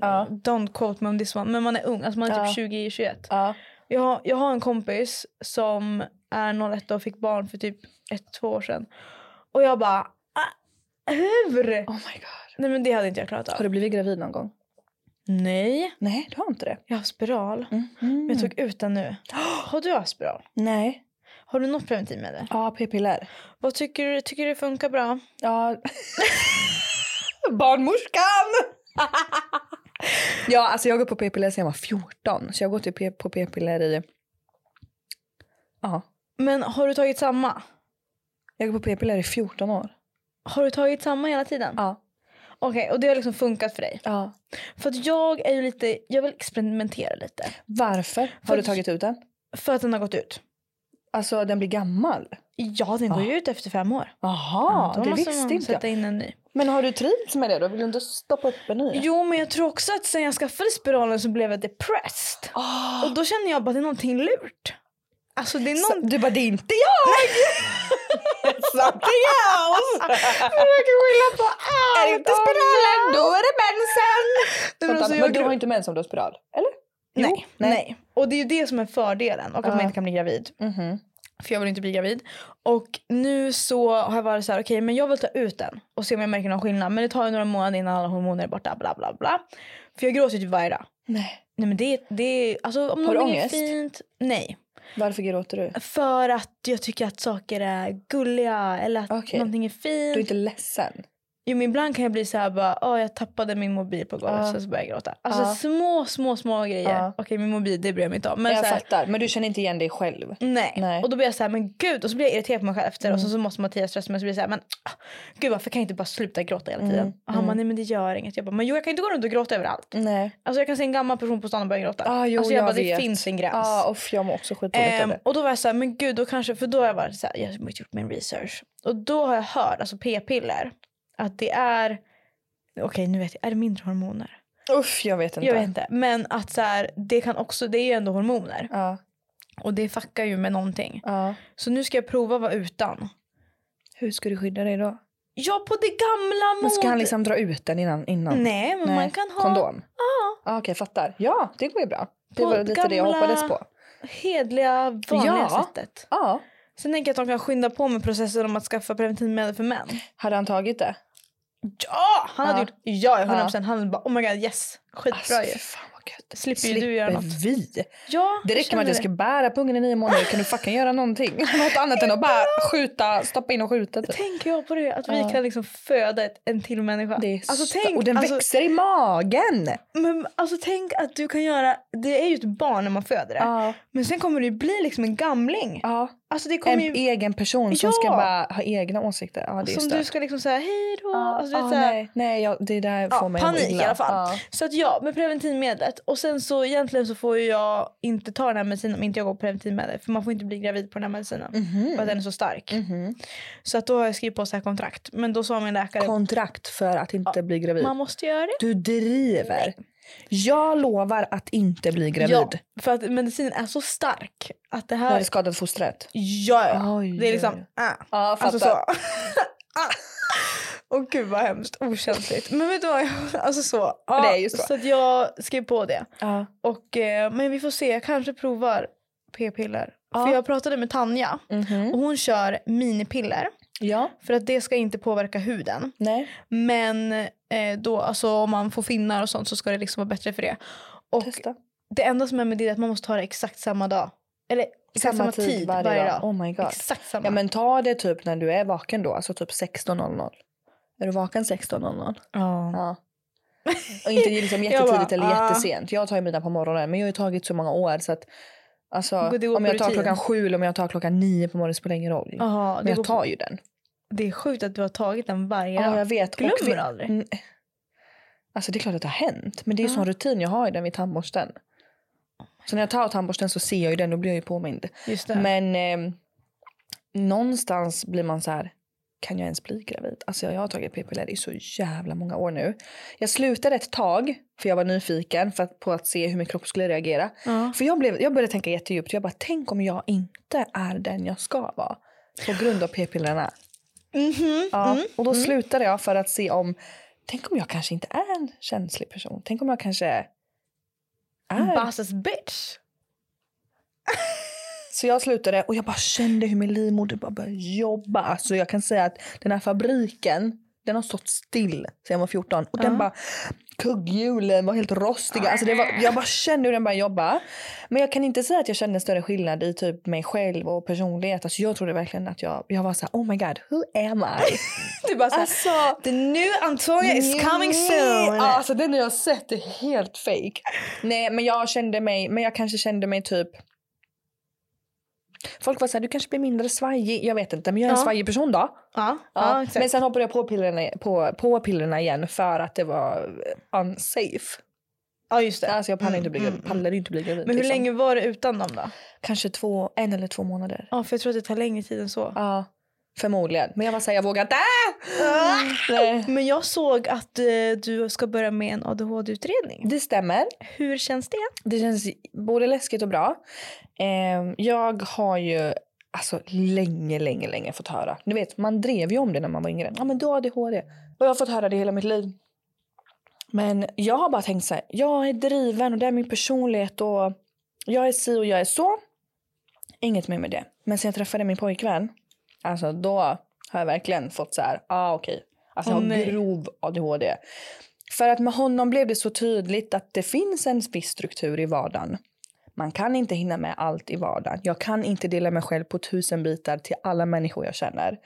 Ja.
don't quote me on this one, men man är ung, alltså man är
Ja.
typ 20, 21.
Ja.
Jag har, jag har en kompis som är 01 och fick barn för typ ett, två år sedan. Och jag bara, ah, hur?
Oh my god.
Nej men det hade inte jag klarat
Har
av.
du blivit gravid någon gång?
Nej,
Nej, du har inte det.
jag har spiral.
Mm.
Men jag tog ut den nu. Har du haft spiral?
Nej.
Har du något preventiv med det?
Ja, p-piller.
Vad tycker du? Tycker du det funkar bra?
Ja. Barnmorskan! ja, alltså jag går på p-piller sedan jag var 14. Så jag har gått i p- på p-piller i... Ja.
Men har du tagit samma?
Jag går på p-piller i 14 år.
Har du tagit samma hela tiden?
Ja.
Okej, och det har liksom funkat för dig?
ja.
För att jag är ju lite, jag vill experimentera lite.
Varför har
För-
du tagit ut den?
För att den har gått ut.
Alltså den blir gammal.
Ja, den går ju
Ah.
ut efter fem år.
Jaha,
då
det
måste
visste
man
inte jag.
sätta in en ny.
Men har du trivts med det då? Vill du inte stoppa upp en ny?
Jo, men jag tror också att sen jag skaffade spiralen så blev jag depressed.
Ah,
Och då känner jag bara att det är någonting lurt. Alltså det är
så-
någonting.
du bara, det är inte jag! Something else!
Försöker skylla på
är det inte spiralen, då är det mensen!
Nej, men
Vänta,
alltså,
men
jag
du har
gro-
inte mens om du har spiral? Eller?
nej,
Jo,
nej. Och det är ju det som är fördelen. Och att man
Ja.
inte kan bli gravid.
Mhm.
För jag vill inte bli gravid. Och nu så har jag varit så här, okej men jag vill ta ut den och se om jag märker någon skillnad. Men det tar ju några månader innan alla hormoner är borta, bla bla bla. För jag gråter ju typ varje dag.
Nej.
Nej men det, det alltså om
Har du
någonting är
ångest?
fint. Nej.
Varför gråter du?
För att jag tycker att saker är gulliga eller att
Okej.
någonting är
Du
fint.
är inte ledsen?
Jo men ibland kan jag bli så här bara, "Åh, jag tappade min mobil på golvet
Ja.
så, så börjar jag gråta. Alltså
Ja.
små, små, små grejer.
Ja.
Okej min mobil det bryr jag mig inte om. Men
jag
så här,
fattar, men du känner inte igen dig själv?
Nej.
Nej. Mm.
Och då blir jag så här, men gud. Och så blir jag irriterad på mig själv efter. Och så, så måste Mattias rösta mig. Så blir jag så här, men ah, gud varför kan jag inte bara sluta gråta hela tiden?
Mm,
Och han bara, nej men det gör inget. Jag bara, men jo jag kan inte gå runt och gråta överallt.
Nej.
Alltså jag kan se en gammal person på stan och börja gråta.
Ah, jo,
alltså jag,
jag
bara,
vet.
det finns en gräns.
Ah, uff, jag mår också skitdåligt
Ehm,
av det.
och då var jag så här, men gud då kanske, för då har jag varit så här, jag har gjort min research. Och då har jag hört, alltså p-piller, att det är, okej nu vet jag, är det mindre hormoner?
Uff, jag vet inte.
Jag vet inte. Men att så här, det kan också, det är ju ändå hormoner.
Ja,
Och det fuckar ju med någonting.
ja.
Så nu ska jag prova att vara utan.
Hur ska du skydda dig då?
Ja, på det gamla modet.
Men ska han liksom dra ut den innan? innan?
Nej, men
Nej,
Mm, man kan ha
Kondom?
Ja,
Ah, Okej, fattar. Ja, det går ju bra. Det
På
var lite det jag
gamla-
hoppades på.
hedliga, vanliga
Ja.
sättet.
Ja.
Sen tänker jag att de kan skynda på med processen om att skaffa preventivmedel för män.
Hade han tagit det?
Ja! Han hade
Ja.
gjort ja, 100 procent. Han hade bara oh my god yes,
Alltså,
skitbra ju.
fy fan vad gött.
Slipper ju du göra något.
vi?
Ja,
Det räcker med att
känner
jag ska bära på ungen i nio månader kan du fucking göra någonting. Något annat än att bara skjuta, stoppa in och skjuta.
det.
Typ.
Tänker jag på det, att vi
Ja.
kan liksom föda ett, en till människa.
Det är
alltså,
så-
tänk,
och den
alltså,
växer i magen!
men, alltså tänk att du kan göra, det är ju ett barn när man föder det.
Ja,
Men sen kommer du ju bli liksom en gamling.
ja.
Alltså det kommer
En
ju...
egen person som
Ja.
ska bara ha egna åsikter. Ja, det är
Som
stört.
du ska liksom säga hej då.
Ja,
alltså, du vet,
ja,
så här,
nej, nej jag, det där får
Ja,
mig att må
panik
illa.
i alla fall.
Ja.
Så att ja, med preventivmedlet. Och sen så egentligen så får ju jag inte ta den här medicinen om inte jag går på preventivmedel. För man får inte bli gravid på den här medicinen. För att den är så stark.
Mhm.
Så att då har jag skrivit på så här kontrakt. Men då sa min läkare,
Kontrakt för att inte bli gravid.
man måste göra det.
Du driver. Jag lovar att inte bli gravid.
Ja, för att medicinen är så stark. Att det
När
här...
det skadat fostret.
Ja, ja.
Oj,
Det är
oj,
liksom...
oj.
Ah.
Ja,
Alltså så. Ah. Och gud vad hemskt okänsligt. Men vet du vad? jag- Alltså så. Ja,
Det är ju så.
att jag skrev på det.
Ja.
Och, eh, men vi får se, jag kanske provar p-piller.
Ja. Mm.
För jag pratade med Tanja och hon kör minipiller
ja.
för att det ska inte påverka huden.
Nej.
Men eh, då, alltså, om man får finnar och sånt så ska det liksom vara bättre för det. Och
Testa.
det enda som är med det är att man måste ta det exakt samma dag. Eller exakt samma, tid, varje, dag.
Oh my god.
Exakt samma.
Ja men ta det typ när du är vaken då. Alltså typ 16.00. Är du vaken 16.00?
Ja.
Ja. Och inte liksom
Jag
jättetidigt
bara,
eller
ah.
jättesent. Jag tar ju mina på morgonen men jag har ju tagit så många år så att alltså,
Går det att gå
om
på
jag tar
rutin?
klockan sju eller om jag tar klockan nio på morgonen spelar ingen roll.
Jaha, det,
Men jag
går,
tar ju den.
det är sjukt att du har tagit den varje
Ja,
dag.
jag vet. Och
Glömmer
vi-
du aldrig?
Mm. Alltså det är klart att det har hänt. Men det är ju
Ja.
sån rutin jag har ju den vid tandborsten. Så när jag tar tandborsten så ser jag ju den, då blir jag ju påmind.
Just det.
Men eh, någonstans ehm, blir man så här, kan jag ens bli gravid? Alltså jag, jag har tagit p-piller i så jävla många år nu. Jag slutade ett tag för jag var nyfiken för att, på att se hur min kropp skulle reagera. För jag, blev, jag började tänka jättedjupt. Jag bara, tänk om jag inte är den jag ska vara på grund av p-pillerna.
Mhm.
Ja,
Mm.
och då slutade jag för att se om, tänk om jag kanske inte är en känslig person. Tänk om jag kanske är.
Bosses bitch.
Så jag slutade och jag bara kände hur min livmoder bara började jobba. Alltså jag kan säga att den här fabriken, den har stått still sedan jag var 14. Och den bara, kugghjulen var helt rostiga. Alltså det var, jag bara kände hur den började jobba. Men jag kan inte säga att jag kände en större skillnad i typ mig själv och personlighet. Alltså jag trodde verkligen att jag, jag var så här, oh my god, who am I?
Du bara såhär,
Alltså-
the new Antonia is coming soon.
Ja, Alltså den jag har sett är helt fake. Nej men jag kände mig, men jag kanske kände mig typ Folk var såhär, du kanske blir mindre svajig. Jag vet inte, men jag är en
Ja.
svajig person då.
Ja,
Ja.
ja, exakt.
men sen hoppade jag på pillerna, på, på pillerna igen för att det var eh, unsafe.
ja just det.
Alltså jag pallade inte bli,
Mm,
gravid- pallade inte bli gravid.
Men hur
liksom.
länge var du utan dem då?
Kanske två, en eller två månader.
Ja, för jag tror att det tar längre tid än så.
Ja, förmodligen. Men jag var såhär, jag vågar inte. Mm,
Ah!
Nej.
Men jag såg att eh, du ska börja med en ADHD-utredning.
Det stämmer.
Hur känns det?
Det känns både läskigt och bra. Ehm, jag har ju alltså, länge, länge, länge fått höra. Du vet, man drev ju om det när man var yngre. Ja, men du har ADHD. Och jag har fått höra det hela mitt liv. Men jag har bara tänkt så här. Jag är driven och det är min personlighet och jag är si och jag är så. Inget mer med det. Men sen jag träffade min pojkvän, alltså då har jag verkligen fått så här. ah, okej. Alltså jag
Åh,
har
nej.
grov ADHD. För att med honom blev det så tydligt att det finns en viss struktur i vardagen. Man kan inte hinna med allt i vardagen. Jag kan inte dela mig själv på tusen bitar till alla människor jag känner.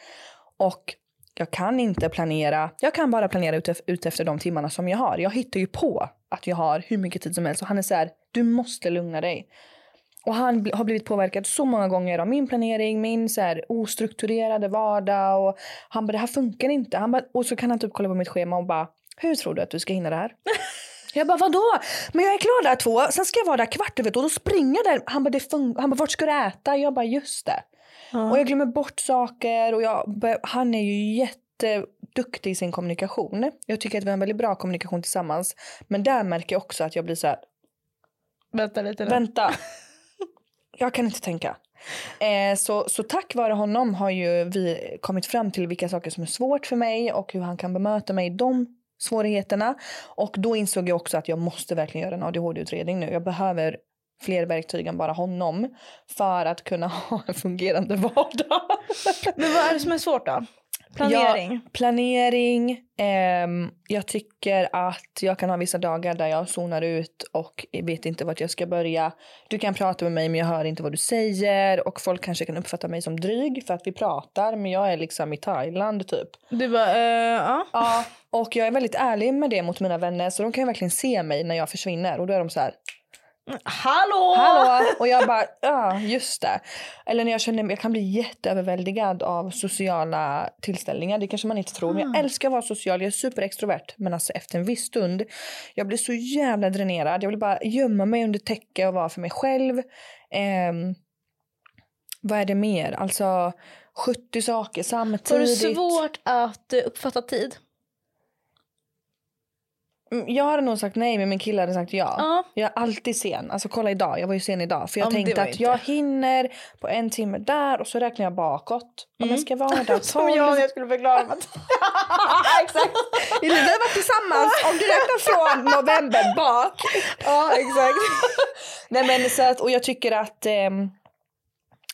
Och jag kan inte planera. Jag kan bara planera ut, ut efter de timmarna som jag har. Jag hittar ju på att jag har hur mycket tid som helst. Och han är så här, du måste lugna dig. Och han bl- har blivit påverkad så många gånger av min planering, min så här ostrukturerade vardag. Och han bara, det här funkar inte. Han bara, och så kan han typ kolla på mitt schema och bara, hur tror du att du ska hinna det här? Jag bara, vadå? Men jag är klar där två, sen ska jag vara där kvart över ett och då springer jag där. Han bara, det fun- han bara, vart ska du äta? Jag bara, just det. Och jag glömmer bort saker och jag, bör- han är ju jätteduktig i sin kommunikation. Jag tycker att vi har en väldigt bra kommunikation tillsammans. Men där märker jag också att jag blir så här,
Vänta lite nu.
Vänta. Jag kan inte tänka. Eh, så, så tack vare honom har ju vi kommit fram till vilka saker som är svårt för mig och hur han kan bemöta mig i de svårigheterna. Och då insåg jag också att jag måste verkligen göra en ADHD-utredning nu. Jag behöver fler verktyg än bara honom för att kunna ha en fungerande vardag.
Men vad är det som är svårt då? Planering?
Planering. ehm, jag tycker att jag kan ha vissa dagar där jag zonar ut och vet inte vart jag ska börja. Du kan prata med mig men jag hör inte vad du säger och folk kanske kan uppfatta mig som dryg för att vi pratar men jag är liksom i Thailand typ.
Du bara, eh, ja.
Ja, och jag är väldigt ärlig med det mot mina vänner så de kan ju verkligen se mig när jag försvinner och då är de så här
Hallå!
Hallå! Och jag bara, ja just det. Eller när jag känner jag kan bli jätteöverväldigad av sociala tillställningar. Det kanske man inte tror. Men jag
Mm.
älskar att vara social. Jag är superextrovert. Men alltså efter en viss stund, jag blir så jävla dränerad. Jag vill bara gömma mig under täcke och vara för mig själv. Ehm, vad är det mer? Alltså 70 saker
Har du
samtidigt.
svårt att eh, uppfatta tid?
Mm, Jag hade nog sagt nej men min kille hade sagt ja.
Ja.
Jag är alltid sen. Alltså kolla idag, jag var ju sen idag. För jag
Ja, men det
tänkte
var
att jag
ju inte.
hinner på en timme där och så räknar jag bakåt. Om jag ska vara där
Mm. Som jag när jag skulle förklara. om att-
Exakt. Vi har varit tillsammans om du räknar från november bak.
Ja, exakt.
Nej men så att, och jag tycker att ehm,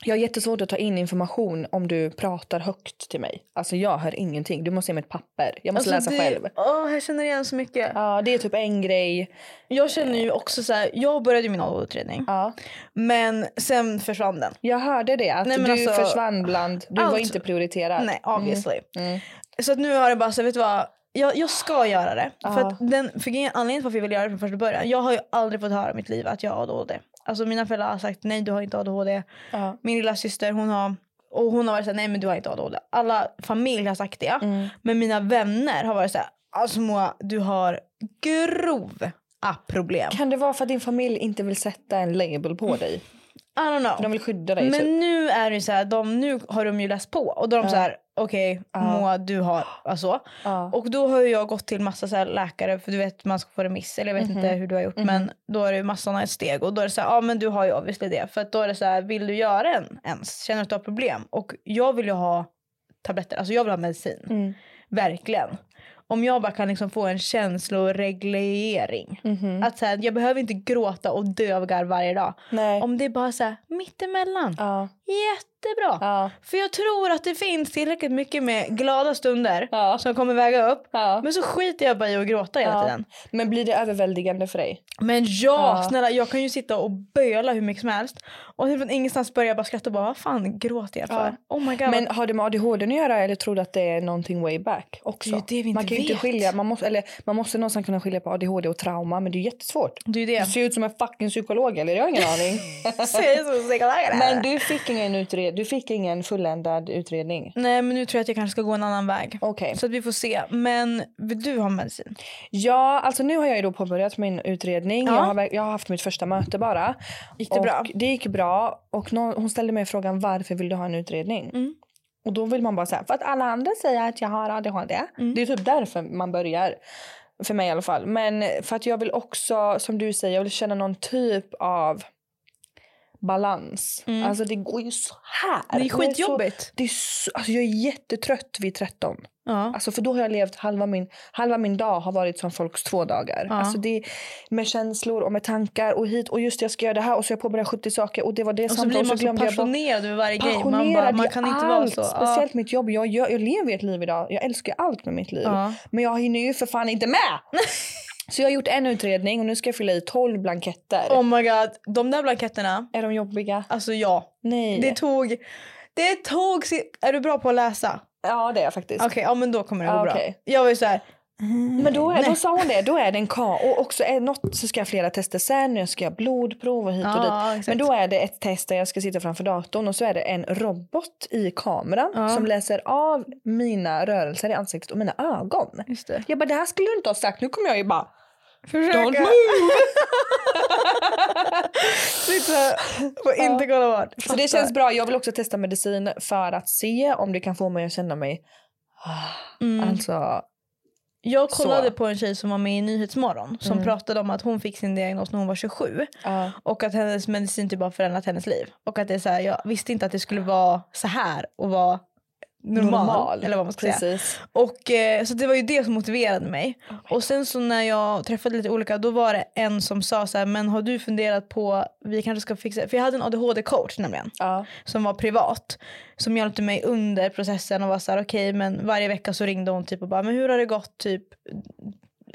jag har jättesvårt att ta in information om du pratar högt till mig. Alltså jag hör ingenting. Du måste ge mig ett papper. Jag måste läsa
Alltså, det,
själv.
Åh, jag känner igen så mycket.
Ja, det är typ en grej.
Jag känner ju också så här, jag började min ADHD-utredning
Ja.
men sen försvann den.
Jag hörde det, att
Nej, men
du
alltså,
försvann bland... Du var
allt-
inte prioriterad.
Nej, obviously.
Mm.
Så att nu har jag bara så här, vet du vad? Jag, jag ska göra det. För
Ja.
att den, för grejen- anledningen till varför jag ville göra det från första början. Jag har ju aldrig fått höra i mitt liv att jag har ADHD. Alltså mina föräldrar har sagt nej du har inte ADHD.
Ja.
Min lilla syster hon har och hon har varit såhär nej men du har inte ADHD. Alla familj har sagt det.
Mm.
Men mina vänner har varit såhär alltså Moa du har grova problem.
Kan det vara för att din familj inte vill sätta en label på dig?
I don't know.
De vill skydda dig. typ.
Men nu är det ju så här, de, nu har de ju läst på och då är de
Ja.
så här, okej
Ja.
Moa du har, alltså.
Ja.
Och då har ju jag gått till massa så här läkare för du vet man ska få remiss eller jag vet
Mhm.
inte hur du har gjort men då är det ju massa sådana steg och då är det så här, ja men du har ju obviously det för att då är det så här, vill du göra en ens? Känner du att du har problem? Och jag vill ju ha tabletter, alltså jag vill ha medicin.
Mm.
Verkligen. Om jag bara kan liksom få en känsloreglering.
Mhm.
Att så här, jag behöver inte gråta och dö av garv varje dag.
Nej.
Om det är bara så här mittemellan.
Ja.
Jättebra.
Ja.
För jag tror att det finns tillräckligt mycket med glada stunder
Ja.
som kommer väga upp.
Ja.
Men så skiter jag bara i att gråta hela
Ja.
tiden.
Men blir det överväldigande för dig?
Men ja,
Ja.
snälla jag kan ju sitta och böla hur mycket som helst. Och typ från ingenstans börjar jag bara skratta och bara vad fan gråter jag för? Oh my god.
Men har det med ADHD att göra eller tror du att det är någonting way back också?
Det är ju det vi
man
inte
kan ju
vet.
inte skilja, man måste, eller, man måste någonstans kunna skilja på ADHD och trauma men det är ju jättesvårt.
det är ju det.
Du ser ut som en fucking psykolog eller jag har ingen aning.
Säger så psykologer.
men du fick ingen utred, du fick ingen fulländad utredning.
Nej men nu tror jag att jag kanske ska gå en annan väg.
Okej.
Så att vi får se. Men vill du ha medicin?
Ja, alltså nu har jag ju då påbörjat min utredning.
Ja.
Jag, har, verk- jag har haft mitt första möte bara.
Gick det
och
bra?
Det gick bra. Och nå- hon ställde mig frågan varför vill du ha en utredning?
Mm.
Och då vill man bara säga för att alla andra säger att jag har ADHD.
Mm.
Det är typ därför man börjar. För mig i alla fall. Men för att jag vill också, som du säger, jag vill känna någon typ av balans.
Mm.
Alltså det går ju så här.
Det är
Jag så-
skitjobbigt.
Det är så, alltså jag är jättetrött vid 13.
Ja.
Alltså för då har jag levt halva min, halva min dag har varit som folks två dagar.
Ja.
Alltså det är med känslor och med tankar och hit och just det, jag ska göra det här och så jag påbörjar 70 saker och det var det
Och så
samtalet,
blir man så
glömde jag bort-
passionerad över varje grej. Man, bara,
Passionerad
man
i
kan inte vara
allt,
så. Ja.
Speciellt mitt jobb. Jag, gör, jag lever ett liv idag. Jag älskar ju allt med mitt liv.
Ja.
Men jag hinner ju för fan inte med! så jag har gjort en utredning och nu ska jag fylla i 12 blanketter.
Oh my god, de där blanketterna.
Är de jobbiga?
Alltså ja,
Nej.
det tog... Det tog... si- Är du bra på att läsa?
ja, det är jag faktiskt.
Okej, ja men då kommer det gå
Ja,
bra.
Ah, okej.
Jag var ju såhär,
Men då, är,
Nej.
då sa hon det, då är det en K. Och också är något så ska jag flera tester sen, jag ska jag blodprov och hit och
Ja,
dit.
exakt.
Men då är det ett test där jag ska sitta framför datorn och så är det en robot i kameran
Ja.
som läser av mina rörelser i ansiktet och mina ögon.
just det.
Jag bara, det här skulle du inte ha sagt. Nu kommer jag ju bara, don't
Försöka
move.
sitta och inte kolla vart.
Så det känns bra. Jag vill också testa medicin för att se om det kan få mig att känna mig,
Mm.
alltså,
Jag kollade
Så.
på en tjej som var med i Nyhetsmorgon som
Mm.
pratade om att hon fick sin diagnos när hon var 27
ja.
och att hennes medicin typ har förändrat hennes liv. Och att det är så här, jag visste inte att det skulle vara så här och vara normal. Eller vad man ska säga.
Precis.
Och, eh, så det var ju det som motiverade mig. och sen så när jag träffade lite olika, då var det en som sa så här, men har du funderat på, vi kanske ska fixa, för jag hade en ADHD-coach nämligen,
Ja.
som var privat. Som hjälpte mig under processen och var så här, okej men varje vecka så ringde hon typ och bara, men hur har det gått typ?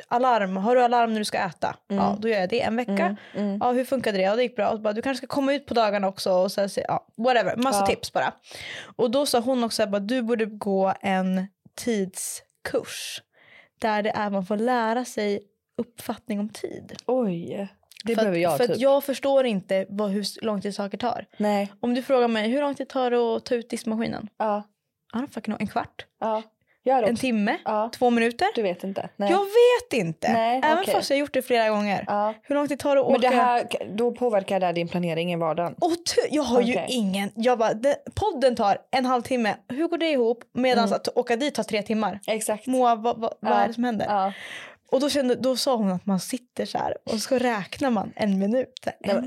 Alarm, har du alarm när du ska äta?
Mm.
Ja, då gör jag det en vecka. Ja, hur funkade det? Ja, det gick bra. Och så bara, du kanske ska komma ut på dagarna också. Och så här, se- ja, whatever, massa
Ja.
tips bara. Och då sa hon också att du borde gå en tidskurs. Där det är man får lära sig uppfattning om tid.
Oj. Det
för
behöver
att,
jag
För
typ.
att jag förstår inte vad, hur s- lång tid saker tar.
Nej.
Om du frågar mig hur lång tid tar det att ta ut diskmaskinen?
Ja.
I don't fucking know, en kvart?
Ja. Gör
En
också.
timme?
Ja.
Två minuter?
Du vet inte? Nej.
Jag vet inte!
Nej,
Även
okej.
fast jag har gjort det flera gånger.
Ja.
Hur lång tid tar det att åka?
Men det här, då påverkar det här din planering i vardagen?
Och tu- jag har ju
Okej.
ingen... Jag bara, den, podden tar en halvtimme. Hur går det ihop? Medan att åka dit tar tre timmar.
Exakt.
Moa, vad, vad, vad
Mm. Ja.
är det som händer?
Ja.
Och då, kände, då sa hon att man sitter så här och så räknar man en minut. Så här,
Nej, men-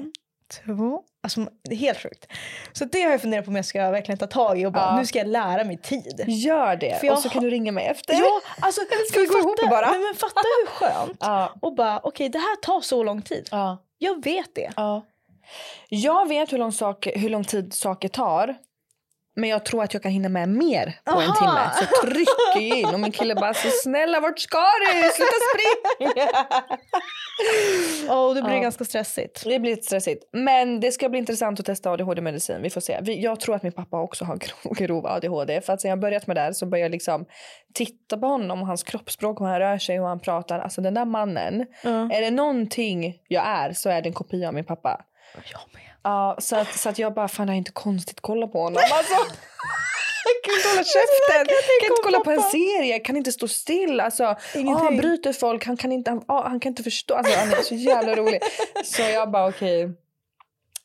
En, två... Alltså, det är helt sjukt. Så det har jag funderat på om jag ska verkligen ta tag i och bara,
Ja.
nu ska jag lära mig tid.
Gör det
För jag
och så kan
har-
du ringa mig efter.
Ja, alltså,
ska vi gå ihop det bara?
Nej, men fatta hur skönt.
Ja.
Och bara, okej det här tar så lång tid.
Ja.
Jag vet det.
ja. Jag vet hur lång, sak, hur lång tid saker tar. Men jag tror att jag kan hinna med mer på en
Aha.
timme. Så trycker jag in och min kille bara så snälla vart ska du? Sluta springa.
Ja, och det blir
Ja.
ganska stressigt.
Det blir lite stressigt. Men det ska bli intressant att testa ADHD-medicin. Vi får se. Vi, jag tror att min pappa också har grov, grov ADHD. För att sen jag börjat med det här så börjar jag liksom titta på honom och hans kroppsspråk, hur han rör sig, hur han pratar. Alltså den där mannen.
Ja.
Är det någonting jag är så är det en kopia av min pappa.
Jag med.
Ja, så, att, så att jag bara, fan det är inte konstigt att kolla på honom. Alltså, jag kan inte hålla käften, kan inte kolla på en serie, kan inte stå still. Alltså,
Ingenting.
ah, bryter folk, han kan inte, han, ah, han kan inte förstå. Alltså, han är så jävla rolig. Så jag bara okej.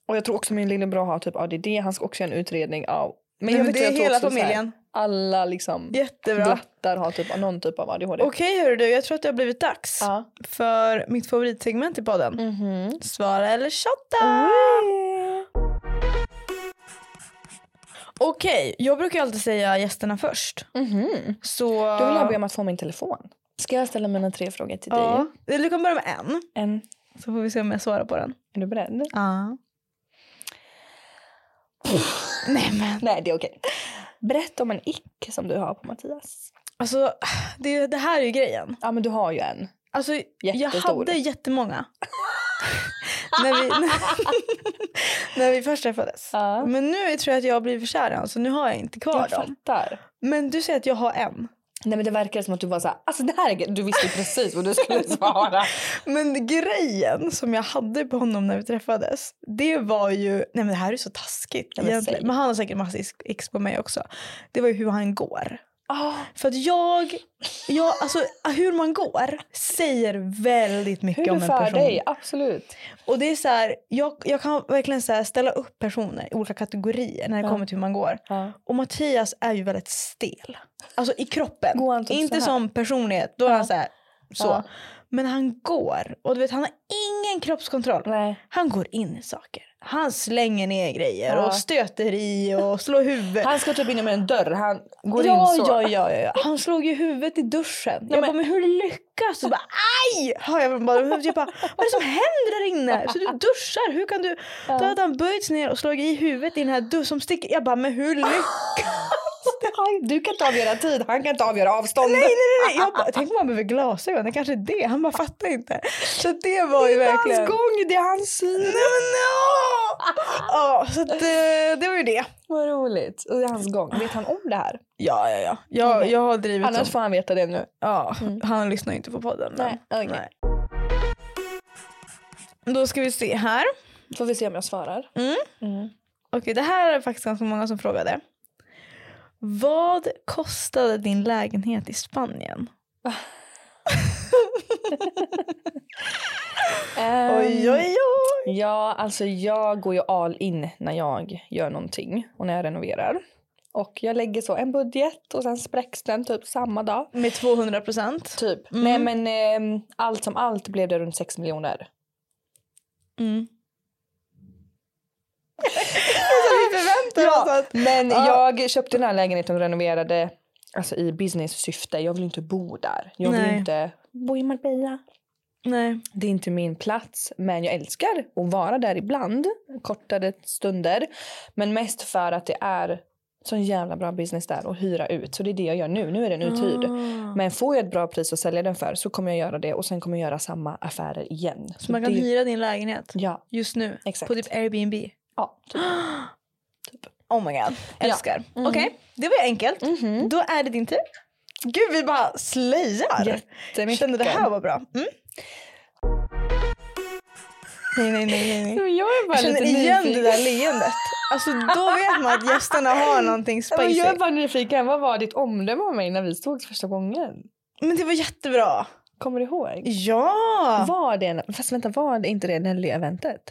Och jag tror också min lillebror har typ ADD. Han ska också göra en utredning av...
Men,
jag
men
vet
det är
inte, jag tror
hela
också så här,
familjen.
alla liksom
Jättebra.
blattar har typ någon typ av ADHD.
Okej hörru du, jag tror att det har blivit dags
Ja. Mhm.
för mitt favoritsegment i podden. Svara eller tjotta! Okej, jag brukar alltid säga gästerna först.
Mhm.
Så...
Då vill jag be om att få min telefon. Ska jag ställa mina tre frågor till
ja.
dig?
Eller Du kan börja med en,
En.
så får vi se om jag svarar på den.
Är du beredd?
Ja. Nej men,
Nej, det är okej. Berätta om en ick som du har på Mattias.
alltså det, det här är ju grejen.
Ja, men du har ju en.
Alltså, jag
Jättestor.
hade jättemånga. när, vi, när, när vi först träffades.
Ja.
Men nu tror jag att jag har blivit kär i honom, så nu har jag inte kvar
Jag
dem.
fattar.
Men du säger att jag har en.
Nej, men det verkar som att du var så här, alltså det här är, du visste precis vad du skulle svara.
Men grejen som jag hade på honom när vi träffades, det var ju... Nej men det här är så taskigt
Ja, men
egentligen.
säg.
Men han har säkert massa ex- ex på mig också. Det var ju hur han går.
Ah,
För att jag... jag alltså, hur man går säger väldigt mycket
hur
om
du
en
för
person.
dig, absolut.
Och det är så här, jag, jag kan verkligen så här ställa upp personer i olika kategorier när det
Ja.
kommer till hur man går.
Ja.
Och Mattias är ju väldigt stel. Alltså i kroppen.
Går han typ så
Inte
här?
som personlighet, då är
Ja.
han så här. Så.
Ja.
Men han går. Och du vet, han har ingen kroppskontroll.
Nej.
Han går in i saker. Han slänger ner grejer
Ja.
och stöter i och slår huvudet.
Han ska typ in med en dörr, han går
ja,
in så. Alltså,
ja, ja, ja, ja. Han slog ju huvudet i duschen.
men-
jag bara, men hur lyckas du? Bara, aj! Hör jag bara, huvudet. jag bara, vad är det som händer där inne? Så du duschar, hur kan du? Då hade han böjts ner och slagit i huvudet i den här duschen som sticker. Jag bara, men hur lyckas
Han- Du kan inte avgöra tid, han kan inte avgöra avstånd.
Nej, nej, nej. Jag bara, tänk om han behöver glasögon, det kanske är det. Han bara fattar inte. Så det var ju verkligen...
Hans gång, det är hans syn.
Nej, men no! Ja, så att, eh, det var ju det.
Vad roligt. Och det är hans gång. Vet han om det här?
Ja, ja, ja. Jag, jag har drivit om-
Annars får han veta det nu.
Ja, han lyssnar ju inte på podden. Men,
Nej, okej.
Då ska vi se här.
Får vi se om jag svarar.
Okej, det här är faktiskt ganska många som frågade. Vad kostade din lägenhet i Spanien? Oj, oj, oj.
Ja, alltså jag går ju all in när jag gör någonting och när jag renoverar. Och jag lägger så en budget och sen spräcks den typ samma dag.
Med 200 procent.
Typ.
Mm.
Nej men ehm, allt som allt blev det runt 6 miljoner.
Mm.
Ja,
Typ. ja.
men
Ja.
jag köpte den här lägenheten och renoverade alltså, i business-syfte. Jag vill inte bo där. Jag vill
Nej.
inte bo i Marbella.
Nej.
Det är inte min plats, men jag älskar att vara där ibland. Kortade stunder. Men mest för att det är så jävla bra business där och hyra ut. Så det är det jag gör nu. Nu är den uthyrd.
Ah.
Men får jag ett bra pris att sälja den för så kommer jag göra det och sen kommer jag göra samma affärer igen.
Så man kan
det,
hyra din lägenhet
Ja,
just nu
Exakt.
på typ Airbnb.
ja. Typ.
Oh my god, älskar.
Mm.
Okej, det var ju enkelt.
Mhm.
Då är det din tur. Mm. Gud, vi bara slöjar. Jag
Jättemycket.
kände det här var bra. Mm. Nej, nej, nej. nej, nej.
Jag är bara
Jag känner
lite
igen
nyfiken.
det där leendet. Alltså, då vet man att gästerna har någonting
Nej, men
spicy.
jag är bara nyfiken. Vad var ditt omdöme om mig när vi sågs första gången?
Men det var jättebra.
Kommer du ihåg?
Ja!
Var det, fast vänta, var det inte det Nelly-eventet?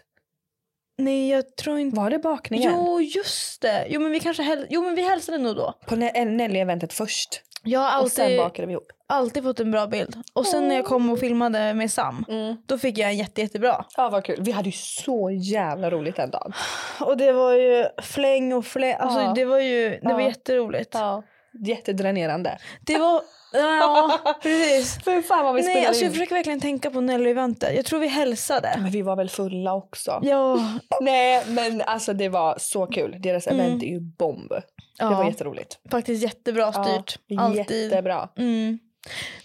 Nej, jag tror inte...
Var det bakningen?
Jo, just det. Jo, men vi kanske häl... jo, men vi hälsade nog då.
På Ne- Nelly-eventet först.
Jag har
Och sen
alltid,
bakade vi ihop.
alltid fått en bra bild. Och sen när jag kom och filmade med Sam,
Mm.
då fick jag en jätte, jättebra.
Ja, vad kul. Vi hade ju så jävla roligt den dagen.
Och det var ju fläng och fläng. Alltså,
Ja.
Det var ju det var
Ja.
jätteroligt.
Ja. Jättedränerande.
Det var... Ja, precis.
För fan vad vi
Nej,
spelade
alltså
in.
jag försöker verkligen tänka på Nelly-eventet. Jag tror vi hälsade.
Men vi var väl fulla också?
Ja,
Nej, men alltså det var så kul. Deras
Mm.
event är ju bomb. Det var
ja
jätteroligt.
faktiskt jättebra styrt.
Ja,
Alltid.
Jättebra.
Mm.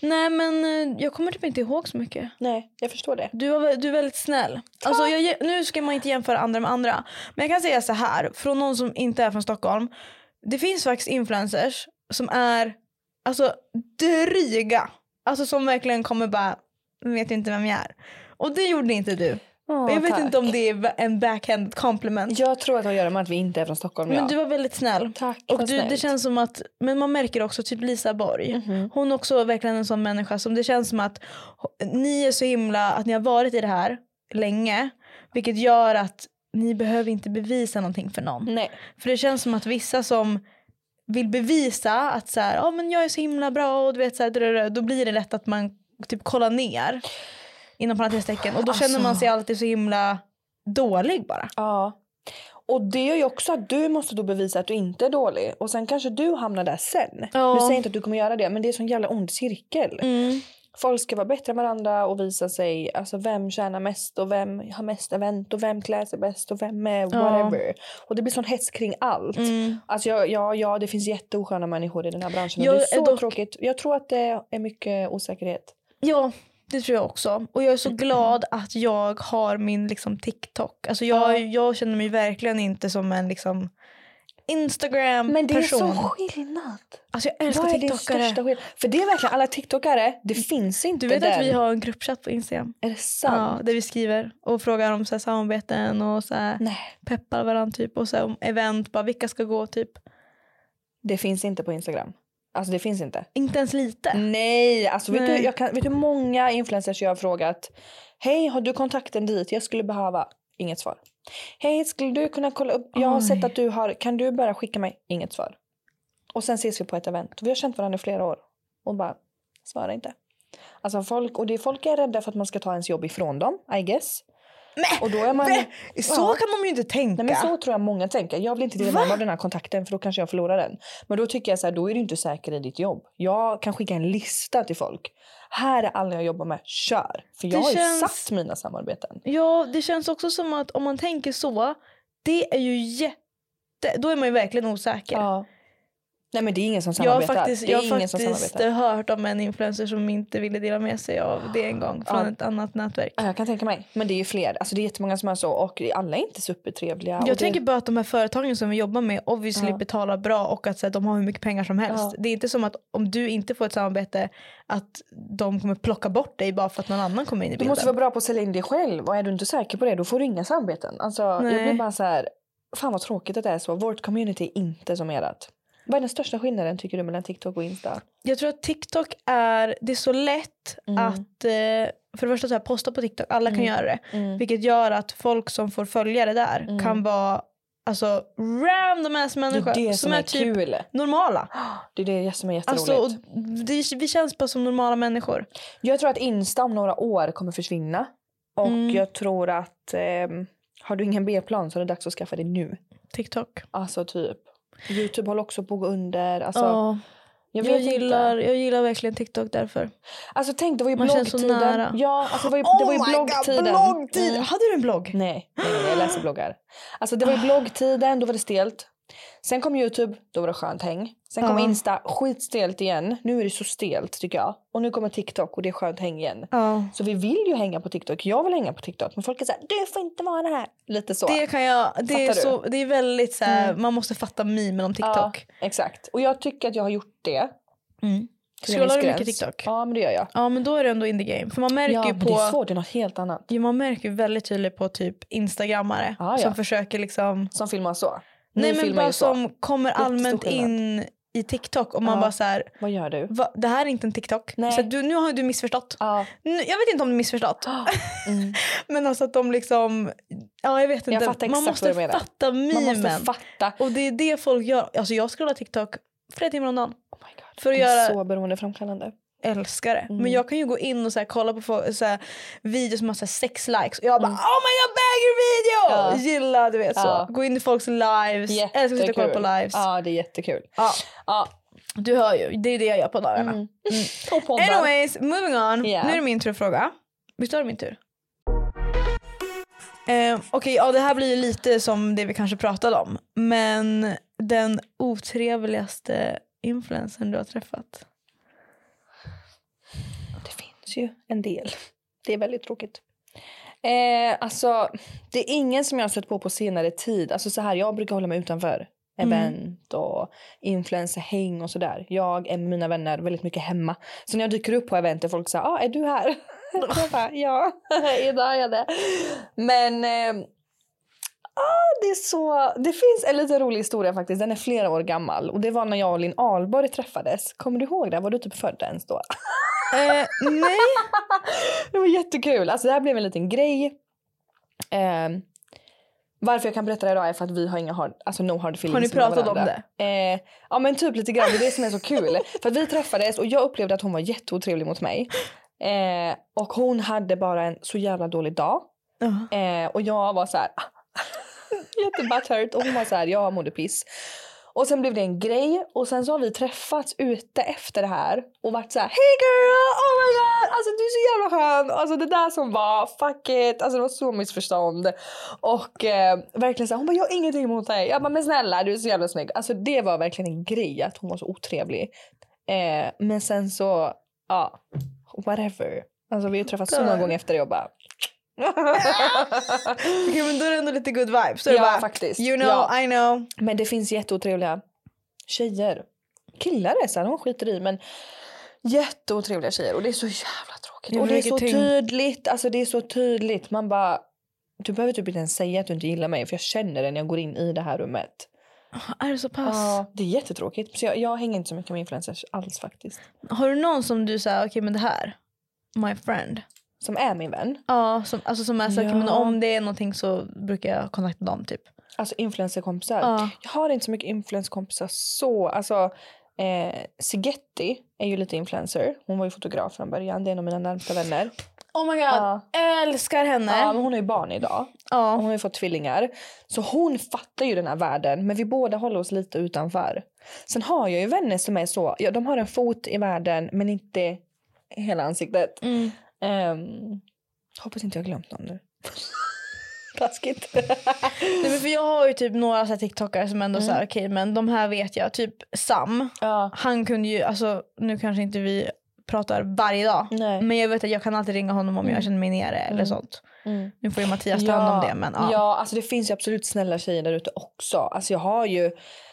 Nej, men eh, jag kommer typ inte ihåg så mycket.
Nej, jag förstår det.
Du, var, du är väldigt snäll. Alltså, jag, nu ska man inte jämföra andra med andra. Men jag kan säga så här, från någon som inte är från Stockholm. Det finns faktiskt influencers som är alltså, dryga. Alltså som verkligen kommer bara, vet inte vem jag är. Och det gjorde inte du.
Åh,
jag vet
tack.
inte om det är en backhand compliment.
Jag tror att det har att göra med att vi inte är från Stockholm.
Men
ja.
du var väldigt snäll.
Tack,
Och
vad
du, det
snällt. Mhm.
känns som att, men man märker också typ Lisa Borg. Hon är också verkligen en sån människa som det känns som att ni är så himla, att ni har varit i det här länge. Vilket gör att ni behöver inte bevisa någonting för någon.
Nej.
För det känns som att vissa som vill bevisa att så här, ah, men jag är så himla bra och du vet så här, drrrr, då blir det lätt att man typ kollar ner inom parentestecken och då känner man
Alltså.
sig alltid så himla dålig bara.
Ja. Och det gör ju också att du måste då bevisa att du inte är dålig. Och sen kanske du hamnar där sen.
Ja.
Nu säger jag inte att du kommer göra det, men det är en sån jävla ond cirkel. Folk ska vara bättre än varandra och visa sig. Alltså vem tjänar mest och vem har mest event och vem klär sig bäst och vem är whatever. Och det blir sån hets kring allt.
Mm.
Alltså ja, ja, ja, det finns jätteosköna människor i den här branschen.
Jag
och det
är
är så
dock-
tråkigt. Jag tror att det är mycket osäkerhet.
Ja, det tror jag också. Och jag är så
Mm.
glad att jag har min liksom, TikTok. Alltså, jag,
Ja.
jag känner mig verkligen inte som en liksom, Instagram-person.
Men det är sån skillnad.
Alltså, jag älskar
Vad är din största
TikTokare.
skillnad? För det är verkligen alla tiktokare. Det finns inte
Mm. Du vet
den.
att vi har en gruppchatt på Instagram
Är det sant?
Ja, där vi skriver och frågar om så här, samarbeten och så här,
Nej,
peppar varandra typ, och så här, om event, bara, vilka ska gå typ.
det finns inte på Instagram. Alltså det finns inte.
Inte ens lite.
Nej, alltså vet
Nej.
du, jag kan, vet du hur många influencers jag har frågat? Hej, har du kontakten dit? Jag skulle behöva. Inget svar. Hej, skulle du kunna kolla upp? Jag har
Oj.
sett att du har. Kan du bara skicka mig? Inget svar. Och sen ses vi på ett event. Vi har känt varandra i flera år och bara svara inte. Alltså folk och det är folk är rädda för att man ska ta ens jobb ifrån dem, I guess.
Men,
Och då är man
så
Ja.
kan de ju inte tänka.
Nej, men så tror jag många tänker. Jag vill inte dela med mig av den här kontakten för då kanske jag förlorar den. Men då tycker jag så här, då är du inte säker i ditt jobb. Jag kan skicka en lista till folk. Här är alla jag jobbar med, kör! För jag
Det
har ju
känns-
satt mina samarbeten.
Ja, det känns också som att om man tänker så, det är ju jätte... Då är man ju verkligen osäker.
Ja. Nej men det är ingen som
jag har
samarbetar.
faktiskt,
det är
jag har
ingen som
faktiskt
samarbetar.
eh, hört om en influencer som inte ville dela med sig av det en gång från
Ja.
ett annat nätverk.
Ja, Jag kan tänka mig. Men det är ju fler. Alltså det är jättemånga som är så och alla är inte supertrevliga. och
Jag
det...
tänker bara att de här företagen som vi jobbar med obviously
Ja.
betalar bra och att så här, de har hur mycket pengar som helst.
Ja.
Det är inte som att om du inte får ett samarbete att de kommer plocka bort dig bara för att någon annan kommer in i
Du
bilden.
måste vara bra på att sälja in dig själv och är du inte säker på det då får du inga samarbeten. Alltså, jag
Nej.
blir bara så här, fan vad tråkigt att det är så. Vårt community är inte som ert. Vad är den största skillnaden tycker du mellan TikTok och Insta?
Jag tror att TikTok är, det är så lätt
Mm.
att eh, för det första så här, posta på TikTok, alla kan
Mm.
göra det. Vilket gör att folk som får följare där
Mm.
kan vara alltså, random ass
Det
människor
är det som är,
typ
kul.
normala.
Det är det som är jätteroligt.
Alltså, och det, vi känns bara som normala människor.
Jag tror att Insta om några år kommer försvinna. Och
Mm.
jag tror att ehm, har du ingen B-plan så är det dags att skaffa det nu.
TikTok.
Alltså typ. Youtube håller också på att gå under. Alltså,
Ja.
jag,
jag,
vet
gillar,
Inte.
jag gillar verkligen TikTok därför.
Alltså tänk det var ju
Man känns så
bloggtiden.
nära.
Ja, alltså, det var ju, det
Oh
var ju bloggtiden. Mm.
Hade du en blogg?
Nej, nej, nej, jag läser bloggar. Alltså det var ju
Ah.
bloggtiden, då var det stelt. Sen kom Youtube, då var det skönt häng. Sen kom
Ja.
Insta, skitstelt igen. Nu är det så stelt tycker jag. Och nu kommer TikTok och det är skönt häng igen.
Ja.
Så vi vill ju hänga på TikTok. Jag vill hänga på TikTok. Men folk är såhär, du får inte vara här. Lite så.
Det kan jag, det är,
Fattar Mm.
så, det är väldigt så här, man måste fatta mimen om TikTok.
Ja, exakt. Och jag tycker att jag har gjort det.
Mm.
till en
Scrollar
viss
du mycket
gräns.
TikTok?
Ja, men det gör jag.
Ja men då är det ändå in the game. För man märker
Ja,
ju
men det är
på
svårt. Det är något helt annat.
ja, man märker ju väldigt tydligt på typ instagrammare
Ah, Ja, ja.
som försöker liksom
Som filmar så. Ni
Nej men
filmar
bara
ju så.
som kommer allmänt
skillnad.
in i TikTok och man
Ja.
bara så här,
Vad gör du?
Va, det här är inte en TikTok.
Nej.
Så att du, nu har du missförstått.
Ja.
Nu, jag vet inte om du missförstått.
Mm.
Men alltså att de liksom, ja jag vet
Jag
inte.
fattar
man
exakt vad
måste
du menar.
fatta
Man
mimen.
måste fatta.
och det är det folk gör. Alltså jag scrollar TikTok flera timmar om dagen.
Oh my God.
För att
Det är
göra-
så beroendeframkallande.
Älskar det.
Mm.
Men jag kan ju gå in och så här, kolla på fo- så här, videos som har så här, sex likes och jag bara oh my god banger video!
Mm. Ja.
Gilla du vet så.
Ja.
Gå in i folks lives. Älskar att sitta och kolla på lives.
Ja, det är jättekul.
Ja.
Ja.
Du hör ju, det är det jag gör på dagarna.
Mm. Och poddar.
Anyways, moving on.
Ja.
Nu är det min tur att fråga. Visst var det min tur? Eh, Okej, ja, det här blir ju lite som det vi kanske pratade om. Men den otrevligaste influencern du har träffat?
Det finns ju en del. Det är väldigt tråkigt. Eh, alltså, det är ingen som jag har sett på på senare tid. Alltså så här, jag brukar hålla mig utanför
Mm.
event och influencerhäng och sådär. Jag är med mina vänner väldigt mycket hemma. Så när jag dyker upp på event är folk så här, ah, är du här? jag bara, ja, idag är jag det. Men eh, ah, det är så, det finns en liten rolig historia faktiskt. Den är flera år gammal och det var när jag och Linn Ahlborg träffades. Kommer du ihåg det? Var du typ född ens då?
Eh, nej.
Det var jättekul. Alltså det här blev en liten grej. Ehm, Varför jag kan berätta det idag är för att vi har inga hard, alltså no hard feelings
Har ni
mellan
pratat om
varandra. Eh, ja men typ lite grann, det är det som är så kul. för att vi träffades och jag upplevde att hon var jätteotrevlig mot mig. Eh, och hon hade bara en så jävla dålig dag.
Ja.
Eh, och jag var så här... Jättebutthurt. Och hon var så här, jag mådde piss. Och sen blev det en grej och sen så har vi träffats ute efter det här och varit så här Hey girl! Oh my god! Alltså du är så jävla skön! Alltså det där som var, fuck it! Alltså det var så missförstånd. Och eh, verkligen så här, hon bara jag har ingenting emot dig. Jag bara men snälla du är så jävla snygg. Alltså det var verkligen en grej att hon var så otrevlig. Eh, men sen så, ja, whatever. Alltså vi har träffats så många gånger efter det och bara
Okej, men då är det ändå lite good vibes. Då är det
Ja
bara,
faktiskt.
You know,
ja.
I know.
Men det finns jätteotrevliga tjejer. Killar är så här, de skiter i men jätteotrevliga tjejer och det är så jävla tråkigt.
Ja,
Och det är
vilket
så
tyngd.
tydligt, alltså det är så tydligt. Man bara, du behöver typ inte ens säga att du inte gillar mig för jag känner det när jag går in i det här rummet.
Är det så pass?
Ja, det är jättetråkigt. Så jag, jag hänger inte så mycket med influencers alls faktiskt.
Har du någon som du säger, okej men det här, my friend.
Som är min vän.
Ja, som, alltså som är så, okej men
Ja.
om det är någonting så brukar jag kontakta dem typ.
Alltså influencerkompisar.
Ja.
Jag har inte så mycket influencerkompisar så. Alltså, eh, Sigetti är ju lite influencer. Hon var ju fotograf från början. Det är en av mina närmsta vänner.
Oh my god,
Ja.
älskar henne.
Ja, men hon har ju barn idag. Och
Ja.
Hon har ju fått tvillingar. Så hon fattar ju den här världen men vi båda håller oss lite utanför. Sen har jag ju vänner som är så, ja, de har en fot i världen men inte hela ansiktet.
Mm.
Ehm, hoppas inte jag har glömt någon nu. Taskigt.
Nej, men för jag har ju typ några så här tiktokare som ändå
Mm.
så här, okej men de här vet jag, typ Sam.
ja.
Han kunde ju, alltså nu kanske inte vi pratar varje dag.
Nej.
Men jag vet att jag kan alltid ringa honom om jag känner mig nere eller
Mm.
sånt.
Mm.
Nu får ju Mattias ta hand om det men ja.
ja, alltså det finns ju absolut snälla tjejer där ute också. Alltså jag har ju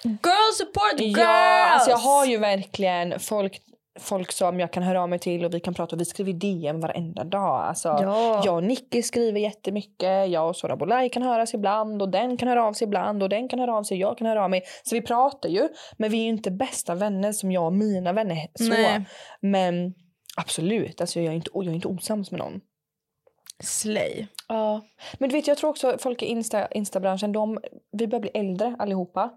Girl support girls!
Ja, alltså jag har ju verkligen folk, folk som jag kan höra av mig till och vi kan prata och vi skriver DM varenda dag. Alltså,
Ja.
Jag och Nicky skriver jättemycket, jag och Sora Bolaj kan höras ibland och den kan höra av sig ibland och den kan höra av sig jag kan höra av mig. Så vi pratar ju men vi är ju inte bästa vänner som jag och mina vänner är. så.
Nej.
Men absolut, alltså jag, är inte, jag är inte osams med någon.
Slay.
Ja. Men du vet, jag tror också folk i Insta, Insta-branschen, de, vi börjar bli äldre allihopa.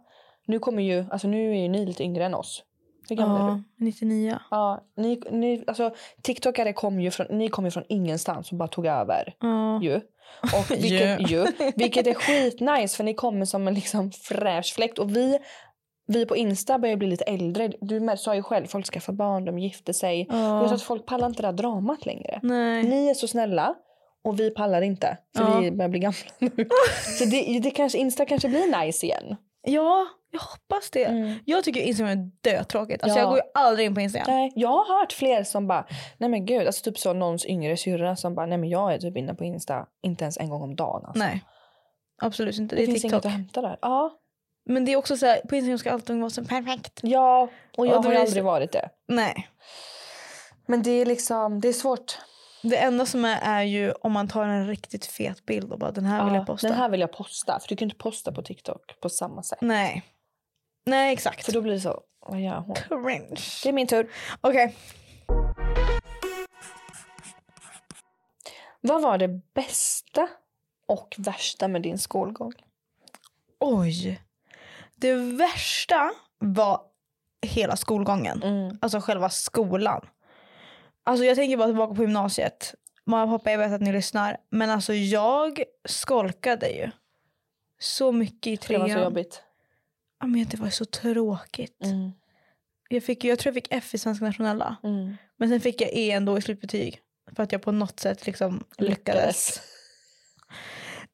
Nu kommer ju, alltså nu är ju ni lite yngre än oss. Hur gammal är du?
Ja, 99.
Ja, ni, ni, alltså, TikTokare kom ju från, ni kom ju från ingenstans och bara tog över.
Ja.
Ju. Och vilket, ju, vilket är skitnice för ni kommer som en liksom fräsch fläkt. Och vi, vi på Insta börjar bli lite äldre. Du med- sa ju själv, folk skaffar barn, de gifter sig. Jag tror
Ja.
att folk pallar inte det där dramat längre.
Nej.
Ni är så snälla och vi pallar inte. För
Ja.
vi börjar bli gamla nu. Så det, det kanske, Insta kanske blir nice igen.
Ja, jag hoppas det. Jag tycker Instagram är dötråkigt. Alltså
Mm. Ja.
jag går ju aldrig in på Instagram.
Nej, jag har hört fler som bara, nej men gud, alltså typ så någons yngre syrra som bara, nej men jag är typ inne på Insta inte ens en gång om dagen. Alltså.
Nej. Absolut inte.
det,
Det, är
finns
TikTok.
inget att hämta där. Ja,
Men det är också så här, på Instagram ska allting vara så perfekt.
ja och jag
Och då
har ju
är det-
aldrig varit det.
Nej.
Men det är liksom, det är svårt.
Det enda som är, är ju om man tar en riktigt fet bild och bara den här vill
Ja,
jag posta. Mm.
Den här vill jag posta, för du kan ju inte posta på TikTok på samma sätt.
Nej. Nej exakt.
För Typ. då blir det så, vad gör hon?
Cringe.
Det är min tur.
Okej.
Vad var det bästa och värsta med din skolgång?
Oj. Det värsta var hela skolgången.
Mm.
Alltså själva skolan. Alltså jag tänker bara tillbaka på gymnasiet. Mamma och pappa, jag vet att ni lyssnar. Men alltså jag skolkade ju. Så mycket i
Det var
trean.
så jobbigt.
Ja, men det var så tråkigt.
Mm.
Jag, fick, ju- jag tror jag fick F i Svenska nationella.
Mm.
Men sen fick jag E ändå i slutbetyg. För att jag på något sätt liksom lyckades.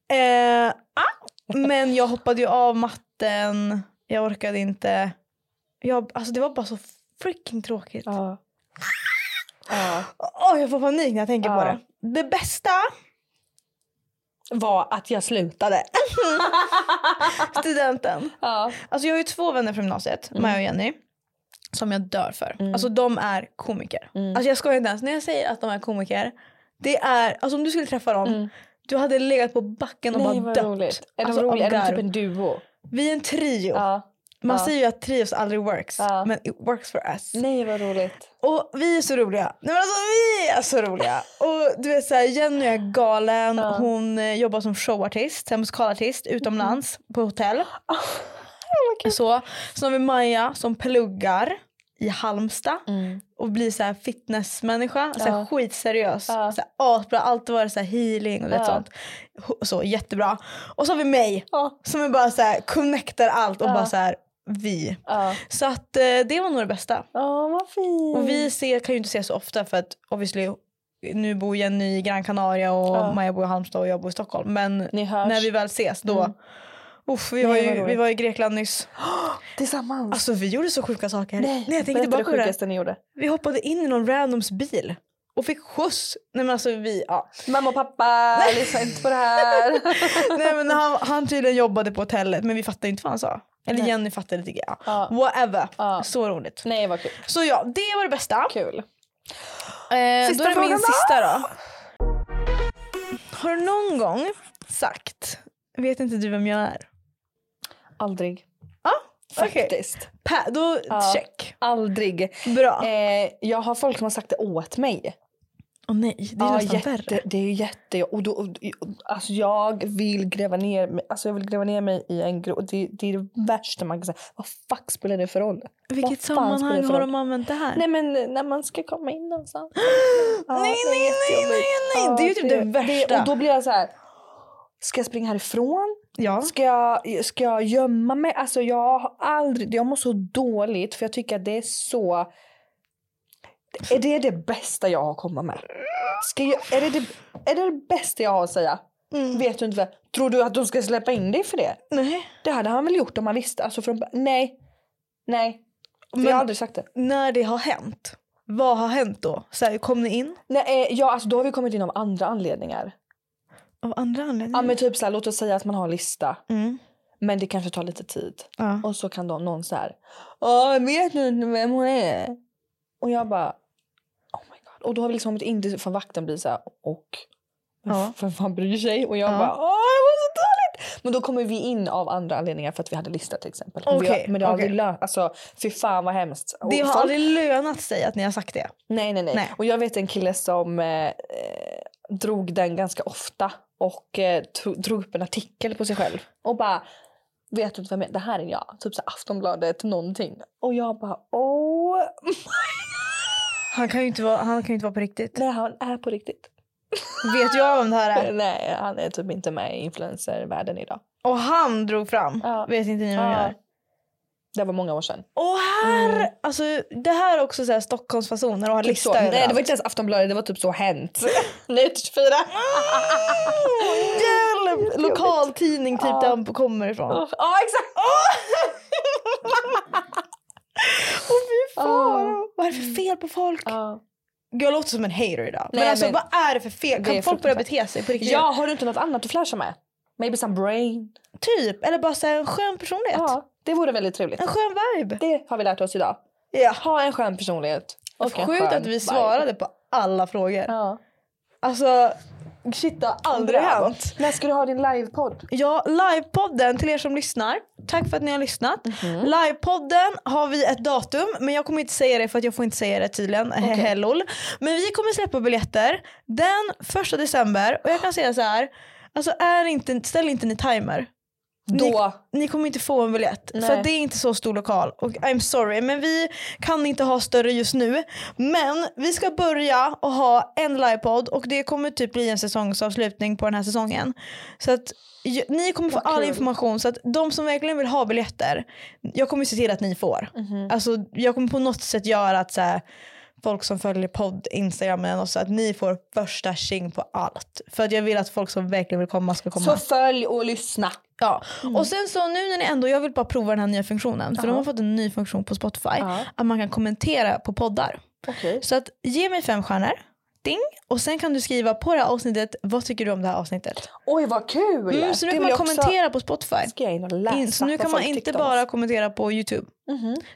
Eh, ah, men jag hoppade ju av matten. Jag orkade inte. Jag, alltså det var bara så freaking tråkigt. Åh,
Ja. Ja.
jag får panik när jag tänker på
Ja.
det. Det bästa
Var att jag slutade.
studenten.
Ja.
Alltså jag har ju två vänner från gymnasiet,
Mm.
Maja och Jenny. Som jag dör för. Alltså de är komiker.
Mm.
Alltså jag skojar inte ens. När jag säger att de är komiker. Det är, alltså om du skulle träffa dem. Du hade legat på backen och
Mm. Nej,
bara
vad
dött.
roligt. Är de
Alltså, av
roliga? Är de
garv.
typ en duo?
Vi är en trio.
Ja.
Man
Ja.
säger ju att trios aldrig works,
Ja.
men it works for us.
Nej vad roligt.
Och vi är så roliga. Nej men alltså vi är så roliga. Och du vet såhär Jenny är galen.
Ja.
Hon eh, jobbar som showartist, så här musikalartist utomlands på hotell. så. Sen har vi Maja som pluggar i Halmstad
Mm.
och blir så här fitnessmänniska. Så här
Ja.
skitseriös.
Ja.
Så här, asbra. Alltid varit så här healing och vet
Ja.
sånt. Ho- Så jättebra. Och så har vi mig
Ja.
som är bara så här connectar allt och
Ja.
bara så här vi.
Ja.
Så att eh, det var nog det bästa.
Ja, vad fint.
Och vi ser, kan ju inte ses så ofta för att obviously nu bor Jenny i Gran Canaria och
Ja.
Maja bor i Halmstad och jag bor i Stockholm. Men
Ni hörs.
när vi väl ses då,
Mm.
uff, vi,
Nej,
var
vad
ju,
roligt.
vi var i Grekland nyss.
tillsammans.
Alltså vi gjorde så sjuka saker. Nej jag tänker
Mm. berätta
tillbaka på
det
det.
sjukaste ni gjorde.
Vi hoppade in i någon randoms bil och fick skjuts. Nej men alltså vi, ja.
Mamma och pappa, lyssna inte på det här.
Nej men han, han tydligen jobbade på hotellet men vi fattade inte vad han sa. Eller
Nej.
Jenny fattade lite grann.
ja.
Whatever.
Ja.
Så roligt.
Nej, vad kul.
Så ja, det var det bästa.
Kul.
Eh,
Sista
då är det min
frågan då.
sista då. Har du någon gång sagt, vet inte du vem jag är?
Aldrig.
Okej.
Faktiskt.
Pa, då
Ja.
check.
Aldrig.
Bra.
Eh, jag har folk som har sagt det åt mig.
Åh nej, det är
Ja,
nästan
jätte,
värre.
Det är jätte... Och då, och, och, alltså jag vill gräva ner mig, alltså jag vill gräva ner mig i en grop. Det, det är det värsta man kan säga. Vad fuck spelar det för roll? Vad
Vilket
fan spelar det
sammanhang
för
har
roll?
de använt det här?
Nej men eh, när man ska komma in någonstans. Ja,
nej,
det är
nej, nej,
jättejobbigt.
nej, nej. Det är ju typ det värsta.
och då blir jag så här. Ska jag springa härifrån?
Ja.
Ska jag, ska jag gömma mig? Alltså jag har aldrig, jag mår så dåligt för jag tycker att det är så... Är det det bästa jag har att komma med? Ska jag, är, det det, är det det bästa jag har att säga? Vet du inte vad? Tror du att de ska släppa in dig för det?
Mm. Nej.
Det hade han väl gjort om han visste? Alltså från, nej. Nej. För jag
Men-
har aldrig sagt det.
När det har hänt, vad har hänt då? Så här, kom ni in?
Nej, eh, ja, alltså då har vi kommit in av andra anledningar.
Av andra anledningar?
Ja, men typ så här, låt oss säga att man har en lista,
Mm.
men det kanske tar lite tid.
Ja.
Och så kan de, någon så här, "Ja, jag vet du inte vem hon är? Och jag bara, oh my god. Och då har vi liksom kommit in till, för vakten blir så här, och vem
Ja.
f- vem fan bryr sig? Och jag
Ja.
bara, åh jag mår så dåligt. Men då kommer vi in av andra anledningar för att vi hade lista till exempel. Men vi har-
Okej,
men det har
okej.
aldrig lönt, alltså fy fan vad hemskt. Och
Det har
folk-
aldrig lönat sig att ni har sagt det.
Nej, nej, nej,
Nej.
Och jag vet en kille som eh, eh, drog den ganska ofta och eh, tro- drog upp en artikel på sig själv och bara Vet du inte vem jag är? Det här är jag. Typ så här Aftonbladet någonting. Och jag bara åh.
Han kan ju inte vara, han kan ju inte vara på riktigt.
Nej han är på riktigt.
Vet jag vem det här är?
Nej han är typ inte med i influencervärlden idag.
Och han drog fram.
Ja.
Vet inte ni vem jag är?
Ja. Det var många år sedan.
Och här, alltså det här är också så här Stockholmsfasoner och ha
Typ så.
lista
Nej det
överallt.
var inte ens Aftonbladet det var typ så hänt. Nytt 24.
Hjälp! Lokaltidning typ
Ja.
där han kommer ifrån.
Ja
Åh
exakt.
fy fan!
Ja. Mm.
Vad är det för fel på folk?
Ja.
Gud, jag låter som en hater idag.
Nej,
men alltså
men-
vad är det för fel?
Det
Kan
är
folk börja bete sig på riktigt?
Ja, har du inte något annat att flasha med? Maybe some brain.
Typ, eller bara så här, en skön personlighet.
Ja, det vore väldigt trevligt.
En skön vibe.
Det har vi lärt oss idag.
Ja.
Ha en skön personlighet.
Och
en
sjukt
skön
att vi
vibe.
svarade på alla frågor.
Ja.
Alltså, shit det har aldrig
Bravo.
hänt.
När ska du ha din livepodd?
Ja, livepodden till er som lyssnar. Tack för att ni har lyssnat. Livepodden har vi ett datum, men jag kommer inte säga det för att jag får inte säga det tydligen. Okay. lol. Men vi kommer släppa biljetter den första december och jag kan säga så här. Alltså är inte, ställ inte ni timer.
Då.
Ni kommer inte få en biljett
Nej.
för att det är inte så stor lokal. Och I'm sorry men vi kan inte ha större just nu. Men vi ska börja och ha en livepodd och det kommer typ bli en säsongsavslutning på den här säsongen. Så att ju- ni kommer få
Vad
all
kul.
information så att de som verkligen vill ha biljetter, jag kommer se till att ni får.
Mhm.
Alltså jag kommer på något sätt göra att så här, folk som följer podd, instagram och så att ni får första tjing på allt. För att jag vill att folk som verkligen vill komma ska komma.
Så följ och lyssna.
Ja. Och sen så nu när ni ändå, jag vill bara prova den här nya funktionen. För
Mm. Ja.
de har fått en ny funktion på Spotify.
Ja.
Att man kan kommentera på poddar.
Okej.
Så att ge mig fem stjärnor. Ding. Och sen kan du skriva på det här avsnittet, vad tycker du om det här avsnittet?
Oj vad kul!
Mm,
Det
så nu kan
vill
man
jag också-
kommentera på Spotify.
Ska jag in och läsa
In, så nu
vad
kan man
folk
inte
tyckte om
bara
oss?
kommentera på YouTube.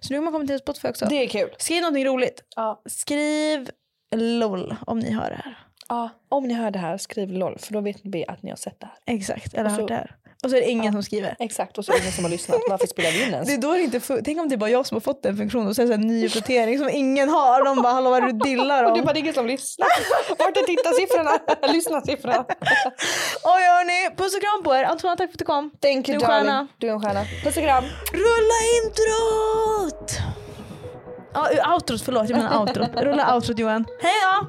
Så nu kan man kommentera på Spotify också.
Det är kul.
Skriv någonting roligt.
Ja.
Skriv LOL om ni hör det här.
Ja. Om ni hör det här, skriv LOL för då vet vi att ni har sett det här.
Exakt, eller
Och så-
hört det här. Och så är det ingen som skriver.
Exakt, och så är det ingen som har lyssnat. Varför spelar vi in ens?
Det är då det inte fu- Tänk om det är bara jag som har fått den funktionen och sen så här ny uppdatering som ingen har. De bara hallå vad är det du dillar
Och
om?
du bara, det är ingen som lyssnar. Vart är tittarsiffrorna? Lyssnarsiffrorna.
Oj hörni, puss och kram på er. Antonija tack för att du kom.
Thank
Du är
you
en stjärna.
darling. Du är en stjärna. Puss och kram.
Rulla introt! Ja, ur- outrot förlåt, jag menar outrot. Rulla outrot Johan. Hej då!